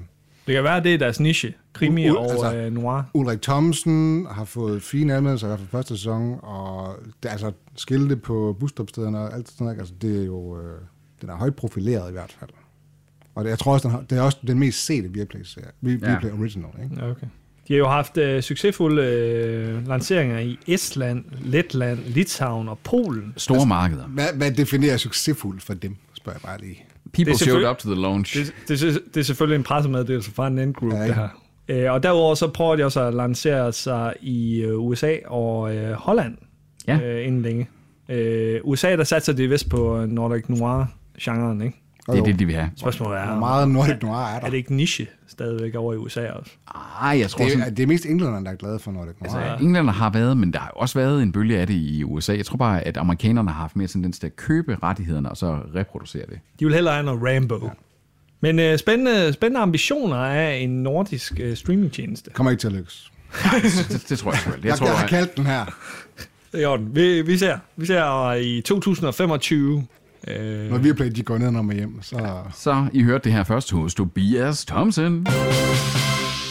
Det kan være, det er deres niche. Krimi U- u- og altså- øh, noir. Ulrik Thomsen har fået fine anmeldelser i hvert fald første sæson, og det, er altså skilte på busstopstederne og alt sådan noget, ikke? altså det er jo, øh, den er højt profileret i hvert fald. Og det, jeg tror også, den har, det er også den mest sete Viaplay-serie, Vi- Viaplay Original, ikke? Ja, Okay. De har jo haft øh, succesfulde øh, lanceringer i Estland, Letland, Litauen og Polen. Store markeder. Hvad, hvad definerer succesfuldt for dem, spørger jeg bare lige. People showed selvfølgelig- up to the launch. Det, det, det er selvfølgelig en pressemeddelelse fra en anden group, Ja, ja, ikke? det her. Øh, og derudover så prøver de også at lancere sig i øh, USA og øh, Holland Ja. øh, inden længe. Øh, USA, der satser de vist på øh, Nordic Noir-genren, ikke? Det er det, de vil have. Spørgsmålet er, Hvor meget Nordic Noir er der? er det ikke niche stadigvæk over i USA også? Ej, jeg tror det, sådan... er, det er mest englænderne, der er glade for Nordic Noir. Altså, at Englænder har været, men der har jo også været en bølge af det i USA. Jeg tror bare, at amerikanerne har haft mere tendens til at købe rettighederne og så reproducere det. De vil hellere have noget Rambo. Ja. Men øh, spændende, spændende ambitioner af en nordisk øh, streamingtjeneste. Kommer ikke til at lykkes. Det, det tror jeg selvfølgelig. Jeg, Jeg jeg, jeg har tror, at kaldt den her. I orden. Vi, vi ser. Vi ser øh, i 2025. Øh, Når Viaplay, de går ned og med hjem, så... så I hørte det her først hos Tobias Thompson.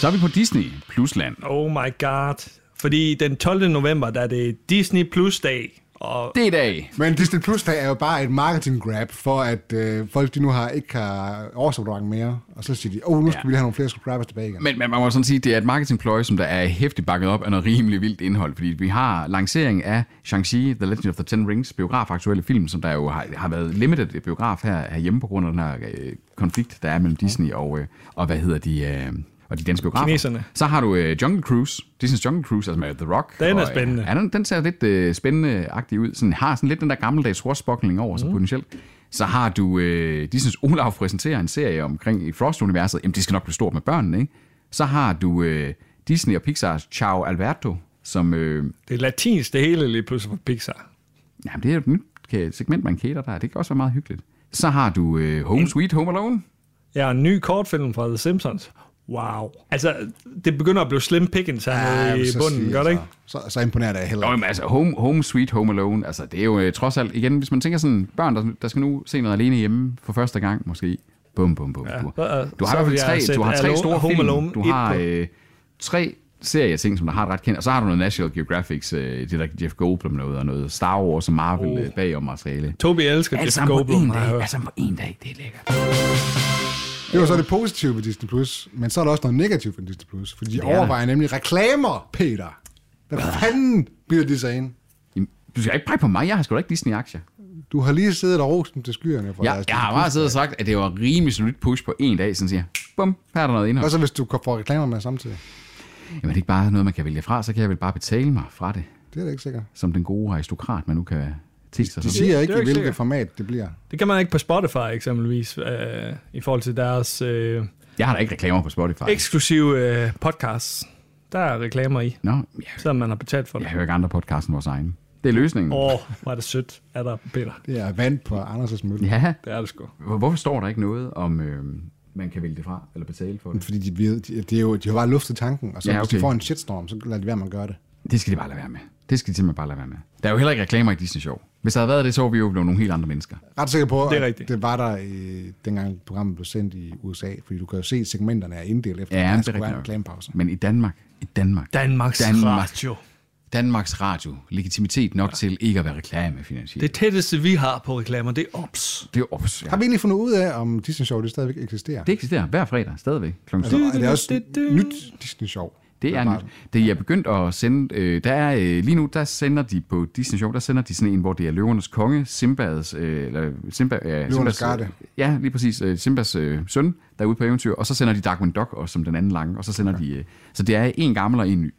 Så er vi på Disney Plusland. oh my god. Fordi den 12. november, der er det Disney Plus dag. Og Det er i dag. Men Disney Plus er jo bare et marketing grab for, at øh, folk de nu har, ikke har årsabonnement mere. Og så siger de, åh, oh, nu skal Ja. ja. vi lige have nogle flere subscribers tilbage igen. Men, men man må sådan sige, det er et marketingpløje, som der er hæftigt bakket op af noget rimelig vildt indhold, fordi vi har lancering af Shang-Chi, The Legend of the Ten Rings, biografaktuelle film, som der jo har, har været limited biograf her herhjemme på grund af den her øh, konflikt, der er mellem Disney og, øh, og hvad hedder de, øh, og de danske biografer. Kineserne. Så har du øh, Jungle Cruise, Disney's Jungle Cruise, altså med The Rock. Den er og, øh, spændende. Ja, den, den ser lidt øh, spændende-agtig ud. Sådan, har sådan lidt den der gammeldags horsbokling over sig mm. potentielt. Så har du, øh, de synes, Olaf præsenterer en serie omkring i Frost-universet. Jamen, det skal nok blive stort med børnene, ikke? Så har du øh, Disney og Pixar's Ciao Alberto, som... Øh, det er latinsk det hele lige pludselig for Pixar. jamen, det er jo et nyt ka- segment, man kæler der. Det kan også være meget hyggeligt. Så har du øh, Home Sweet Home Alone. Ja, en ny kortfilm fra The Simpsons. Wow. Altså, det begynder at blive slim pickings her jeg ja, i vil så bunden, sige, gør det altså. ikke? Så, så, så imponerer det heller Nå, ikke. jamen, altså, home, home Sweet Home Alone, altså, det er jo øh, trods alt, igen, hvis man tænker sådan, børn, der, der skal nu se noget alene hjemme for første gang, måske, bum, bum, bum. Ja, du, du har så- øh, i så hvert vil fald jeg tre, sætte du har tre Alone- store Home film, Alone du et har på. øh, tre serier ting, som der har et ret kendt, og så har du noget National Geographic, øh, det der Jeff Goldblum noget, og noget Star Wars og Marvel Oh. oh. bagom materiale. Tobi elsker Alt Jeff sammen på Goldblum. en har jeg dag, hørt. alt sammen på en dag, det er lækkert. Det var så det positive ved Disney Plus, men så er der også noget negativt ved Disney Plus, fordi de er der. overvejer nemlig reklamer, Peter. Hvad fanden bliver de så ind? Jamen, Du skal ikke pege på mig, jeg har sgu da ikke Disney-aktier. Du har lige siddet og rost dem til skyerne for Jeg, deres jeg Disney+. har bare siddet og sagt, at det var rimelig solidt push på en dag, sådan siger, jeg, bum, her er der noget indhold. Hvad så, hvis du får reklamer med samtidig? Jamen, det er ikke bare noget, man kan vælge fra, så kan jeg vel bare betale mig fra det, Det er da ikke sikkert. som den gode aristokrat, man nu kan tænke sig De som. siger det ikke, er jo i ikke hvilket sikkert. format det bliver. Det kan man ikke på Spotify eksempelvis, øh, i forhold til deres øh, Jeg har da ikke reklamer på Spotify. eksklusive øh, podcasts. Der er reklamer i, Nå, jeg, selvom man har betalt for det. jeg hører ikke andre podcast end vores egen. Det er løsningen. Åh, oh, var det sødt af dig, Peter. Det er vand på Anders' mølle. Ja, Det er det sgu. hvor- hvorfor står der ikke noget om øh, man kan vælge det fra, eller betale for det. Fordi de, ved, de, de, er jo, de har bare luftet tanken, og så Ja, ja, okay. hvis de okay. får en shitstorm, så lader de være med at gøre det. Det skal de bare lade være med. Det skal de simpelthen bare lade være med. Der er jo heller ikke reklamer i Disney Show. Hvis der havde været det, så var vi jo blevet nogle helt andre mennesker. Ret sikker på, Det er at rigtigt. det var der, øh, dengang programmet blev sendt i USA, fordi du kan jo se, at segmenterne er inddelt efter, Ja, at det er der skulle være en rigtigt nok. reklamepause. Men i Danmark, i Danmark, Danmarks Danmark. Radio. Danmarks Radio, legitimitet nok til ikke at være reklamefinansieret. Det tætteste, vi har på reklamer, det er OPS. det er jo ops, ja. Har vi egentlig fundet ud af, om Disney Show det stadigvæk eksisterer? Det eksisterer hver fredag stadigvæk. Klokken altså, syv. er det også nyt Disney Show? Det er nyt. Det er begyndt at sende... Øh, der er, øh, lige nu, der sender de på Disney Show, der sender de sådan en, hvor det er Løvernes Konge, Simba's... Øh, eller Simba, ja, Simba's, Garde. Ja, lige præcis. Øh, Simbas øh, søn, der er ude på eventyr. Og så sender de Darkwing Duck også, som den anden lange. Og så sender okay. de... Øh, så det er en gammel og en ny.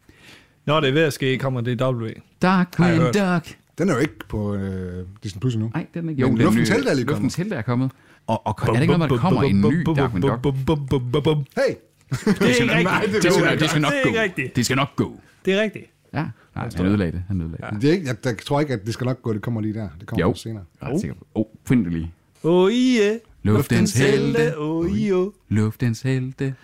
Når det er ved at ske, kommer det W. Darkwing Har jeg hørt. Duck! Den er jo ikke på øh, Disney Plus endnu. Nej, den er ikke. Jo, den Luftens nye- Helte er lige kommet. Luftens Helte er kommet. Og, og er det ikke noget, med, at der kommer en ny Darkwing Duck? Hey! Det er ikke Nej, rigtigt. det Det ved skal, jeg det skal nok Det er gå. ikke rigtigt. Det skal nok gå. Det er rigtigt. Ja, nej, han ødelagde det. Han ødelagde det. Det er ikke, jeg, jeg tror ikke, at det skal nok gå, det kommer lige der. Det kommer Jo, jo. senere. jeg er ret sikker på. Åh, oh, find det lige. Oh, yeah. Luftens helte, Oh, yeah. luftens helte.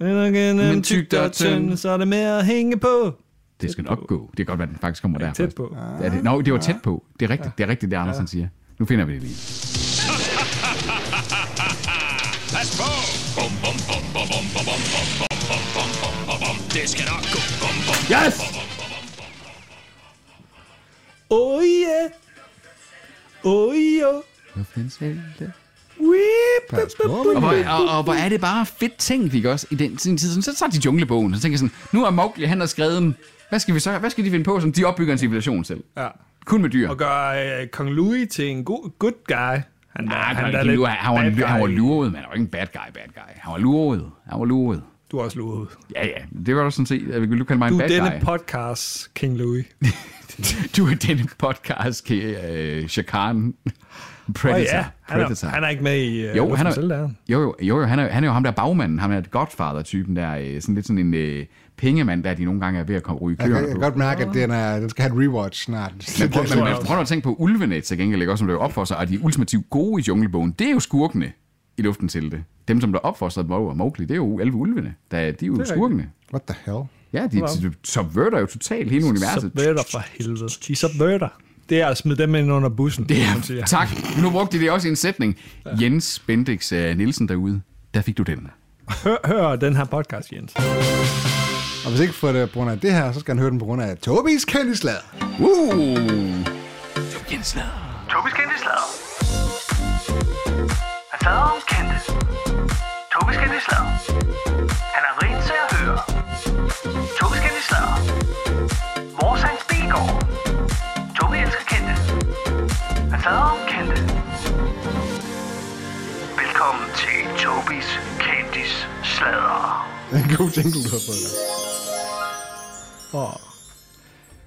Men Men tyk tykt og og tynd, tynd. så er det med at hænge på. Det skal nok gå. Det kan godt være, den faktisk kommer der. Tæt på. Ah. først. Er det, nå, det var tæt på. Det er rigtigt, det, er rigtigt, det Andersen siger. Nu finder vi det lige. Pas på! Bum, bum, bum, bum, bum, bum, bum, bum, bum, bum, bum, bum, bum, bum. Det skal nok gå. Bum, bum, Yes! Oh, yeah. Oh, yeah. Luftens helte. Weep. Pas på, Og men hvor, og, og hvor er det bare fedt tænkt, ikke også? I den sin tid, Sådan, så tager de junglebogen, og så tænker jeg sådan, nu er Mowgli, han har skrevet den. Hvad skal, vi så, hvad skal de finde på, som de opbygger en civilisation selv? Ja. Kun med dyr. Og gør øh, Kong Louis til en god good guy. Han, Nej, Ah, han, han, han, han, var, bad han var guy. luret, men han var ikke en bad guy, bad guy. Han var luret. Han var luret. Du er også luret. ud. Ja, ja. Det var du sådan set. at vi kunne kalde mig Du en er bad denne guy. podcast, King Louis. du er denne podcast, øh, Shakan. Predator. Åh, ja, han Predator. er, han er ikke med i øh, jo, han er, Selv, der. er. jo, jo, jo, jo, han er, han er jo ham der bagmanden, ham der godfather-typen der, øh, sådan lidt sådan en øh, pengemand, der de nogle gange er ved at komme ryge Jeg kan, køerne jeg på. kan godt mærke, at den, er, den skal have et rewatch snart. Men prøv, Det men, tror men, jeg også. prøv nu at tænke på ulvene til gengæld, ikke? også, som blev op for sig, og de ultimativt gode i junglebogen, det er jo skurkene i luften til det. Dem, som blev opfostret af Mowgli og Mowgli, det er jo alle ulvene. Der, de er jo skurkene. What the hell? Ja, de, de subverter jo totalt hele universet. Subverter for helvede. De subverter. Det er at smide dem ind under bussen. Det som siger. er, tak. Nu brugte de det også i en sætning. Jens Bendix uh, Nielsen derude, der fik du den. Uh! Hør, hør den her podcast, Jens. Og hvis ikke for det på grund af det her, så skal han høre den på grund af Tobis kendislag. Uh! Jens Lader. Tobis kendte slader. Han fader om kendte. Tobis kendte slader. Han er rent til at høre. Tobis kendte slader. Mors hans bilgård. Tobi elsker kendte. Han fader om kendte. Velkommen til Tobis Kendis Slader. En god jingle, du har fået der.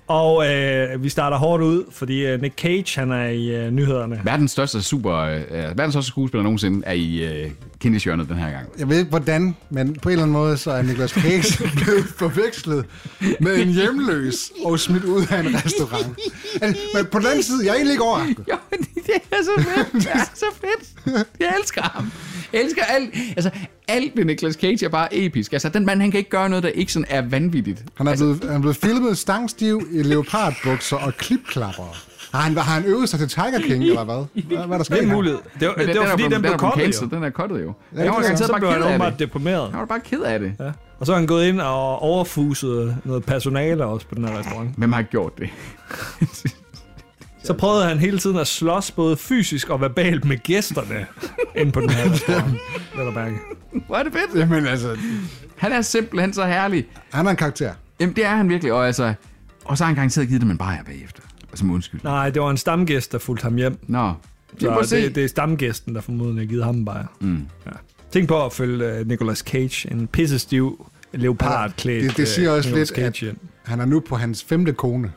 Og øh, vi starter hårdt ud, fordi øh, Nick Cage, han er i øh, nyhederne. Verdens største super, uh, verdens største skuespiller nogensinde er i uh, kendishjørnet den her gang. Jeg ved ikke hvordan, men på en eller anden måde, så er Niklas Cage blevet forvekslet med en hjemløs og smidt ud af en restaurant. Altså, Men på den anden side, jeg er egentlig ikke overrasket. Jo, men det er så fedt. Det er så fedt. Jeg elsker ham. Jeg elsker alt. Altså, alt ved Nicolas Cage er bare episk. Altså, den mand, han kan ikke gøre noget, der ikke sådan er vanvittigt. Han er blevet, han er blevet filmet stangstiv i leopardbukser og klipklapper. Har han, har han øvet sig til Tiger King, eller hvad? Hvad, hvad er der Det sket? er her? mulighed. Det var, Men det var fordi, blevet- den, blev er blevet kottet cancelled. jo. Den er kottet jo. det Jeg var er garanteret Så bare blev han ked af åbenbart det. deprimeret. Jeg var bare ked af det. Ja. Og så er han gået ind og overfuset noget personale også på den her restaurant. Hvem har gjort det? Så prøvede han hele tiden at slås både fysisk og verbalt med gæsterne ind på den her restaurant. Vel at mærke. Hvor er det fedt. Jamen altså, Han er simpelthen så herlig. han er en karakter. Jamen, det er han virkelig. Og, altså, og så har han garanteret givet dem en bajer bagefter. Som undskyld. Nej, det var en stamgæst, der fulgte ham hjem. Nå. Vi må Så se. det, det er stamgæsten, der formodentlig har givet ham en bajer. Mm. Ja. Tænk på at følge uh, Nicolas Cage, en pissestiv leopardklædt Det, det siger øh, også Nicolas lidt, Cage at hjem. han er nu på hans femte kone.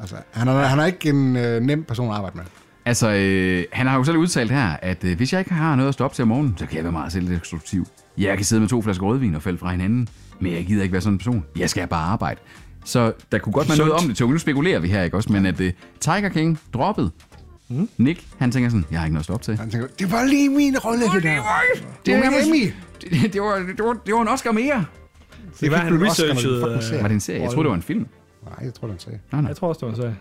Altså, han er, han er ikke en øh, nem person at arbejde med. Altså, øh, han har jo selv udtalt her, at øh, hvis jeg ikke har noget at stå op til om morgenen, så kan jeg være meget selvdestruktiv. Jeg kan sidde med to flasker rødvin og falde fra hinanden, men jeg gider ikke være sådan en person. Jeg skal bare arbejde. Så der kunne godt være noget Sundt. om det, Tog. Nu spekulerer vi her, ikke også? Men at øh, Tiger King droppet, Mm. Nick, han tænker sådan, jeg har ikke noget at stå op til. Han tænker, det var lige min rolle, det der. Det var var- Emmy. Det, det, var, det, var, det var en Oscar mere. Det var, fik han du Oscar, når du researchede, fucking øh, ser. Var det en serie? Jeg troede, det var en film. Nej, jeg tror, det er en sag. Nå, nej. Jeg tror også, det var så.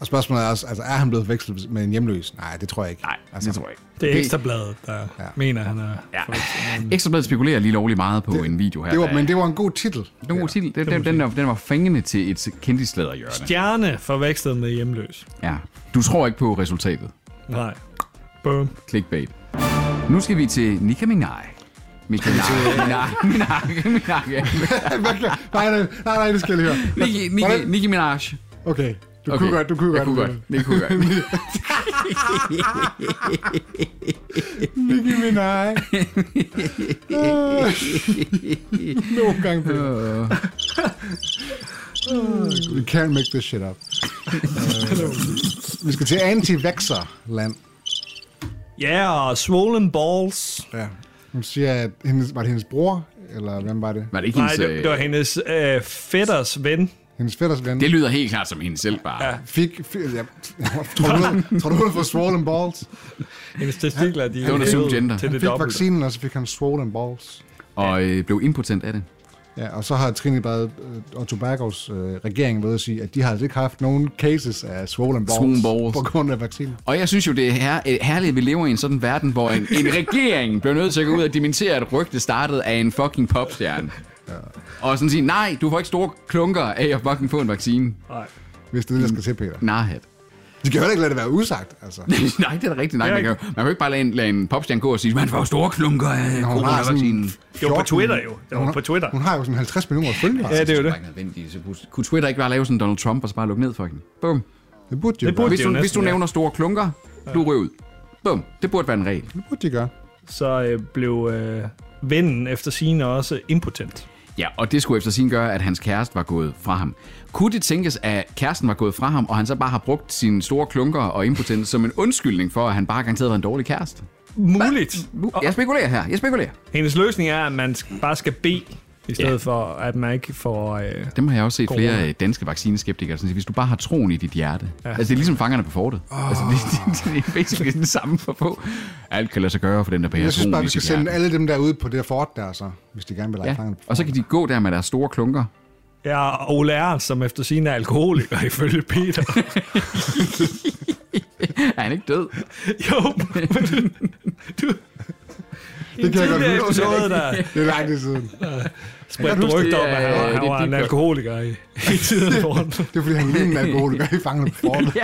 Og spørgsmålet er også, altså, er han blevet vekslet med en hjemløs? Nej, det tror jeg ikke. Nej, altså, det tror jeg ikke. Det er ekstrabladet, der ja. mener, han er... Ja. Ekstrabladet spekulerer lige lovligt meget på det, en video her. Det var, der- men det var en god titel. den, var, den, den, den, der- den var fængende til et kendtisladerhjørne. Stjerne forvekslet med hjemløs. Ja. Du tror ikke på resultatet. Nej. Boom. Clickbait. Nu skal vi til Nika Minaj. Mika Minaj. Minaj. Minaj. nej, nej, nej, nej, det skal jeg lige høre. Nicki- Nicki- Nicki Minaj. Okay, du kunne godt, du kunne jeg godt. Kunne godt. Det kunne godt. Nicki Minaj. Øh, Nogle gange på We can't make this shit up. Øh, Vi skal til anti-vaxxer-land. Ja, yeah, swollen balls. Ja. Hun siger, at hendes, var det hendes bror, eller hvem var det? Var det ikke Nej, hendes... det, det var øh, hendes øh, fætters ven. Hendes fætters ven. Det lyder helt klart som hende selv bare. Ja. Fik, fik ja, tror du, hun- tror du, hun har fået swollen balls? Hendes testikler, de Det var noget subgender. til Han det fik dobbelte. vaccinen, og så fik han swollen balls. Og øh, blev impotent af det. Ja, og så har Trine Bad og Tobagos øh, regering ved at sige, at de har altså ikke haft nogen cases af swollen balls, Swollen balls. på grund af vaccinen. Og jeg synes jo, det er her, øh, herligt, at vi lever i en sådan verden, hvor en, en regering bliver nødt til at gå ud og dimentere et rygte startet af en fucking popstjerne. Og sådan sige, nej, du får ikke store klunker af at fucking få en vaccine. Hvis det er det, der skal til, Peter. Narhat. De kan jo heller ikke lade det være usagt, altså. nej, det er da rigtigt. Nej, man, kan, jo- man kan jo ikke bare lade en, lade en popstjerne gå og sige, man får jo store klunker af hun har sådan- coronavaccinen. Det var på 14. Twitter jo. Det Hun var har- på Twitter. Hun har jo sådan 50 millioner følgere. Ja, det er jo det. Bare ikke nødvendigt. Så kunne- Kunne Twitter ikke bare lave sådan en Donald Trump og så bare lukke ned for hende? Bum. Det burde de Det jo gøre. burde- Hvis du, jo hvis du næsten, ja. nævner store klunker, du ryger ud. Bum. Det burde være en regel. Det burde de gøre. Så øh, blev øh, vennen efter sine også impotent. Ja, og det skulle efter sin gøre, at hans kæreste var gået fra ham. Kunne det tænkes, at kæresten var gået fra ham, og han så bare har brugt sine store klunker og impotens som en undskyldning for, at han bare garanteret var en dårlig kæreste? Muligt. Nu- Uh, Jeg spekulerer her. Jeg spekulerer. Hendes løsning er, at man sk- bare skal bede, i stedet ja. for, at man ikke får... Øh, Dem har jeg også set Corona. flere øh, danske vaccineskeptikere, som siger, hvis du bare har troen i dit hjerte. Ja. Altså, det er ligesom fangerne på fortet. Oh. Altså, det, det, det, er basically den samme for på. Alt kan lade sig gøre for den, der bærer Jeg synes troen bare, i vi skal sit sende hjerte. alle dem der ud på det der fort der, så, hvis de gerne vil lege Ja. fanget. Og så kan de gå der med deres store klunker. ja, og Ole Ernst, som efter sine er alkoholiker, ifølge Peter. Er han ikke død? jo, men du... Det kan jeg godt huske. episode, der Det er lang tid siden. spredte huske, rygter om, det er- at han, det var- han er var en deep cut. alkoholiker i, i tiden foran. Det er fordi, han lignede en alkoholiker i fanget på fortet.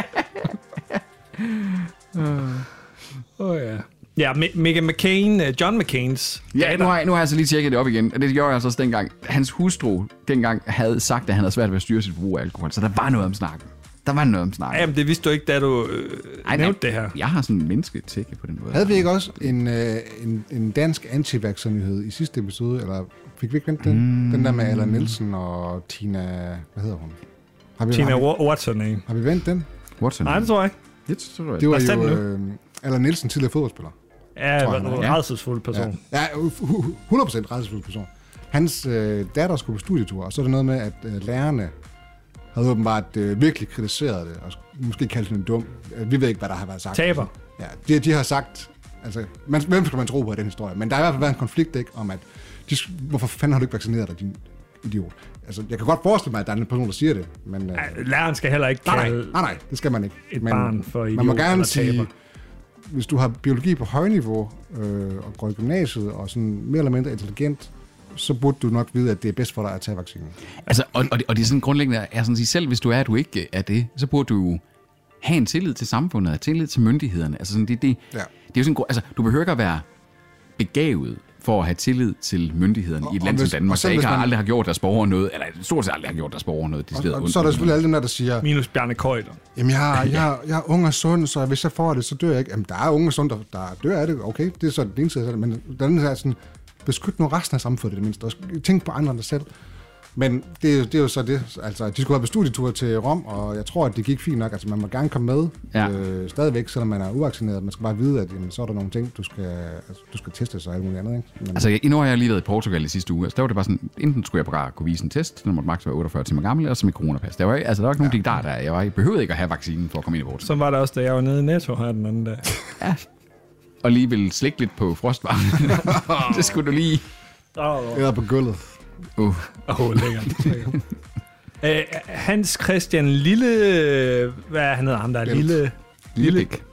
Oh, ja. Ja, Mi- Megan McCain, øh, John McCains Ja, nu har, jeg, nu har jeg så lige tjekket det op igen, og det gjorde jeg så også dengang. Hans hustru dengang havde sagt, at han havde svært ved at styre sit forbrug af alkohol, så der var noget om snakken. Der var noget om snakken. Jamen, det vidste du ikke, da du øh, Ej, nævnte nej, det her. Jeg har sådan en mennesketække på den måde. Havde vi ikke også en, øh, en, en dansk anti nyhed i sidste episode? Eller fik vi ikke vendt den? Mm. Den der med Allan Nielsen og Tina... Hvad hedder hun? Har vi, Tina har, vi, Wa- Watson, ikke? har vi vendt den? Watson. Nej, det tror jeg ikke. det tror jeg. Det var Lad os tage jo den øh, Allan Nielsen, tidligere fodboldspiller. Ja, Tror jeg, en han er. Ja. rædselsfuld person. Ja, ja u- hu- hu- 100% rejsefuld person. Hans øh, datter skulle på studietur, og så er det noget med, at øh, lærerne havde åbenbart øh, virkelig kritiseret det, og sk- måske kaldt hende dum. Øh, Vi ved ikke, hvad der har været sagt. Taber. Ja, de, de har sagt, altså, man, hvem skal man tro på i den historie? Men der har i hvert fald været en konflikt, ikke, om at, de, sk- hvorfor fanden har du ikke vaccineret dig, din idiot? Altså, jeg kan godt forestille mig, at der er en person, der siger det, men... Øh, Læreren skal heller ikke Nej, kalde... nej, nej, nej, det skal man ikke. et barn for idiot Man må gerne eller sige, taber. hvis du har biologi på højniveau øh, og går i gymnasiet og sådan mere eller mindre intelligent, så burde du nok vide, at det er bedst for dig at tage vaccinen. Altså, og, og, det, og det er sådan grundlæggende, er sådan at sige, selv hvis du er, at du ikke er det, så burde du jo have en tillid til samfundet, og tillid til myndighederne. Altså, sådan, det, det, Ja. det er jo sådan, en grund- altså, du behøver ikke at være begavet for at have tillid til myndighederne Og- i et og land som hvis- og Danmark, selv der ikke hvis har, man- aldrig har gjort deres borgere noget, eller stort set aldrig har gjort deres borgere noget. Og, og så er der selvfølgelig alle dem der, der siger, Minus Bjarne Køjler. jamen jeg, har- jeg, har- jeg er ung og sund, så hvis jeg får det, så dør jeg ikke. Jamen der er unge og sund, der, der dør af det. Okay, det er så den ene side af det, men den anden side er sådan, beskyt nu resten af samfundet i det mindste, og tænk på andre end dig selv. Men det, er- det er jo så det. Altså, de skulle have på studietur til Rom, og jeg tror, at det gik fint nok. Altså, man må gerne komme med Ja. øh, stadigvæk, selvom man er uvaccineret. Man skal bare vide, at jamen, så er der nogle ting, du skal, altså, du skal teste sig og alt muligt andet. Ikke? Men, Altså, jeg, nu har jeg lige været i Portugal i sidste uge. Altså, der var det bare sådan, enten skulle jeg bare kunne vise en test, den måtte maks være 48 timer gammel, eller så mit coronapas. Der var, ikke- altså, der var ikke nogen ja. der, der jeg, var, jeg behøvede ikke at have vaccinen for at komme ind i Portugal. Sådan var det også, da jeg var nede i Netto her den anden dag. Og lige ville slikke lidt på frostvarmen. det skulle du lige... Åh, Æder på gulvet. Uh. oh, lækkert. lækkert. Æ, Hans Christian Lille... Hvad er han hedder ham der? Bent. Lille... Lille bæk.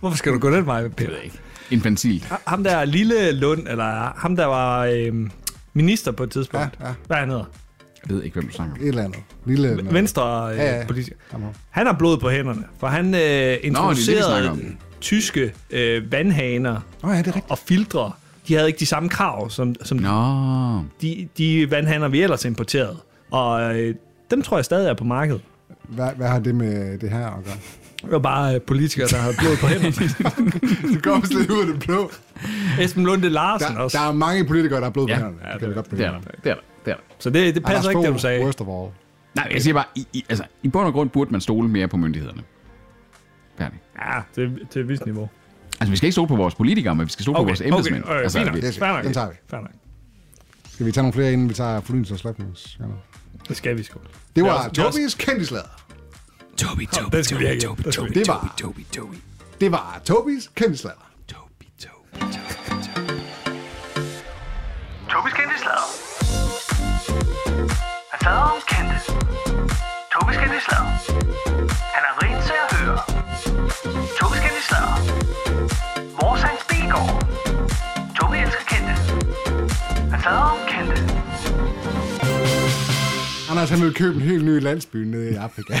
Hvorfor skal du gå den vej, Det Peter? ved jeg ikke. Infantilt. Ham der Lille Lund, eller ham der var øhm, minister på et tidspunkt. Ja, ja. Hvad han hedder? Jeg ved ikke, hvem du snakker om. Et eller andet. Lille, eller- Venstre øh, Ja, ja. politiker. Kom her. Han har blod på hænderne, for han øh, introducerede snakker Nå, om. tyske øh, vandhaner Åh ja, det er rigtigt. og filtre. De havde ikke de samme krav, som, som Nå, de, de vandhaner, vi ellers importerede. Og øh, dem tror jeg stadig er på markedet. Hvad, hvad har det med det her at gøre? Det var bare øh, politikere, der havde blod på hænderne. Det går også lidt ud af det blå. Esben Lunde Larsen Der, også. der er mange politikere, der er blod på Ja, hænderne. det ja, kan det- vi godt blive det er enige der. om. Det er der. Det er der. Så det, det passer Anders ikke, det du Fogh, sagde. Worst of all. Nej, jeg siger bare, i, i, altså, i bund og grund burde man stole mere på myndighederne. Færdig. Ja, til, til et vist niveau. Altså, vi skal ikke stole på vores politikere, men vi skal stole på Okay, vores okay, embedsmænd. øh, altså, fint nok. vi- Det er Fair nok. det. Den tager vi. Fair nok. Skal vi tage nogle flere, inden vi tager fornyelse og slapnings? Det skal vi sgu. Det er var også- det er også- Tobis kendtislader. Toby, Toby, den skal vi have igen. Toby, Den skal vi Toby, have. Toby, Det var- Toby, Toby, Det var Tobis kendtislader. Toby, Toby, Toby, Toby. Tobis kendte slader. Han slader om kendte. Tobis kendte slader. Han er rent til at høre. Tobis kendte slader. Mors hans bilgård. Tobi elsker kendte. Han slader om kendte. Anders, han ville købe en helt ny landsby nede i Afrika.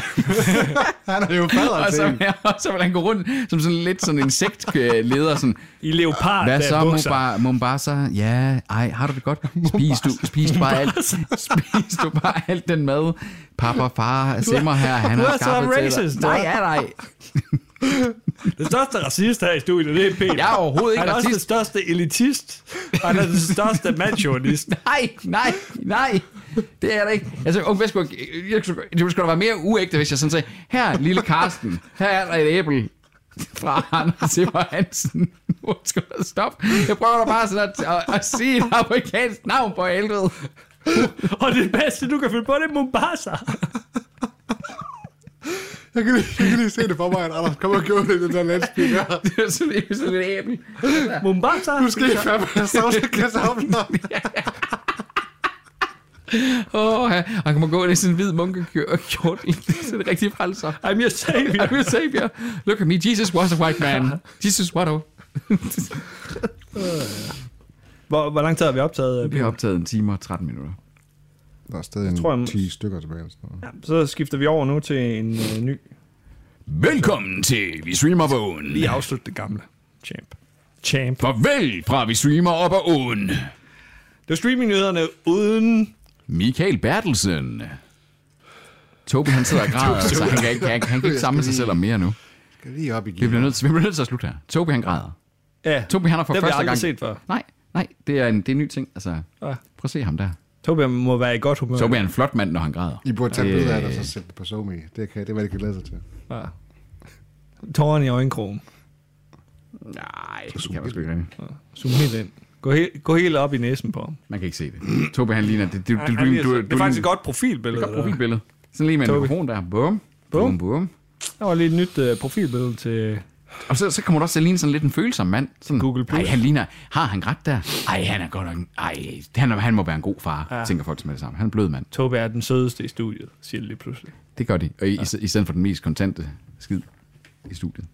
han er jo fader Og til så, Altså, en. og så vil han gå rundt som sådan lidt sådan en sektleder, sådan, I leopard, hvad der så, er bukser. Mumba- Mombasa? Ja, ej, har du det godt? Spis du, spis du bare alt, spis du bare alt den mad, papa, far, simmer her, han Du har er så skaffet racist, til dig. du Nej, er. ja, nej. Den største racist her i studiet, det er Peter. Jeg er overhovedet ikke Han er også den racist. største elitist. og Han er den største mandsjournalist. Nej, nej, nej. Det er det ikke. Altså, Ung Vestbog, det skulle da være mere uægte, hvis jeg sådan sagde, her, lille Karsten, her er der et æble fra Anders Simmer Hansen. Nu skal du stoppe. Jeg prøver da bare sådan at, at, at sige et amerikansk navn på helvede. Og det bedste, du kan finde på, det er Mombasa. Jeg kan, lige, jeg kan lige se det for mig, at Anders kommer og gjorde det i den der landsby der. Det er sådan, det er sådan et æble. Mombasa. Du skal ikke fandme have sovs og kartofler. Åh, oh, han kommer gå ind i sådan en hvid munkekjort. Det er sådan en rigtig frelser. I'm your savior. I'm your savior. Look at me. Jesus was a white man. Jesus, what a... Hvor, hvor lang tid har vi optaget? øh, Vi har optaget en time og 13 minutter. Der er stadig en tror, jeg må- 10 stykker tilbage. eller sådan noget. Ja, så skifter vi over nu til en øh, ny. Velkommen til Vi Streamer på Åen. Lige afslutte det gamle. Champ. Champ. Farvel fra Vi Streamer op ad Åen. Det var streamingnyhederne uden... Michael Bertelsen. Tobi, han sidder og græder, så han kan, ikke, han, han kan ikke samle sig selv om mere nu. Skal lige op i Vi gear. bliver nødt til, vi bliver nødt til at slutte her. Tobi, han græder. Ja, Tobi, han har for det har vi første aldrig gang... set Ah. før. Nej, nej, det er en, det er en ny ting. Altså, prøv at se ham der. Tobi må være i godt humør. Tobi er en flot mand, når han græder. I burde tage Øh. billeder af det, og så sætte det på SoMe. Det, kan, det er, hvad det kan lade sig til. Ja. Tårerne i øjenkrogen. Nej, det kan man sgu ikke rigtigt. Zoom helt ind. Gå, he- gå helt op i næsen på ham. Man kan ikke se det. Tobi, han ligner... Det, det, det, Han du, ligner- du, du, det er faktisk et godt profilbillede. godt Det, der. profilbillede. Sådan lige med en Tobi. mikrofon der. Bum. Bum, Bum. bum. der var lige et nyt uh, profilbillede til... Og så, så kommer du også til at ligne sådan lidt en følsom mand. Sådan, Google Plus. Ej, han ligner, har han ret der? Ej, han er godt nok, en- ej, han, er- han må være en god far, ja. tænker folk med det samme. Han er en blød mand. Tobi er den sødeste i studiet, siger det lige pludselig. Det gør de. Og i, ja. i, stedet for den mest kontante skid i studiet.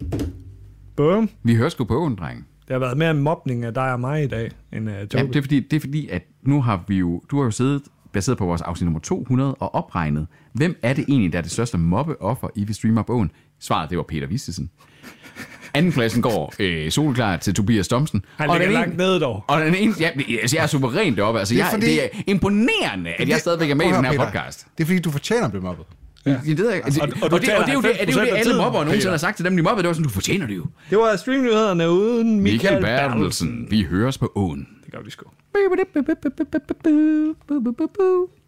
Bum. Vi hører sgu på åen, drenge. Der har været mere mobning af dig og mig i dag, end uh, Tobi. Ja, det, er fordi, det er fordi, at nu har vi jo, du har jo siddet baseret på vores afsnit nummer 200 og opregnet, hvem er det egentlig, der er det største mobbeoffer i Vi Streamer Bogen? Svaret, det var Peter Vistesen. Andenpladsen går øh, solklar til Tobias Thomsen. Han Og ligger den langt ene- nede dog. Og den ene, ja, altså, jeg er suveræn deroppe. Altså, Det er jeg, fordi- det er imponerende, at jeg stadigvæk er med i Prøv den at her høre, Peter. podcast. Det er fordi, du fortjener at blive mobbet. Ja. Det, ved jeg ikke. Altså, og, Og- og og, du og, det, og det er jo det, taler det, er jo 90% det af alle tiden, mobbere nogensinde Peter. har sagt til dem, de mobbede. Det var sådan, du fortjener det jo. det var streamnyhederne uden Michael, Michael Bertelsen. Bertelsen, vi høres på åen. Det Gaudisco. Boo, boo, boo, boo, boo, boo, boo, boo, boo, boo, boo.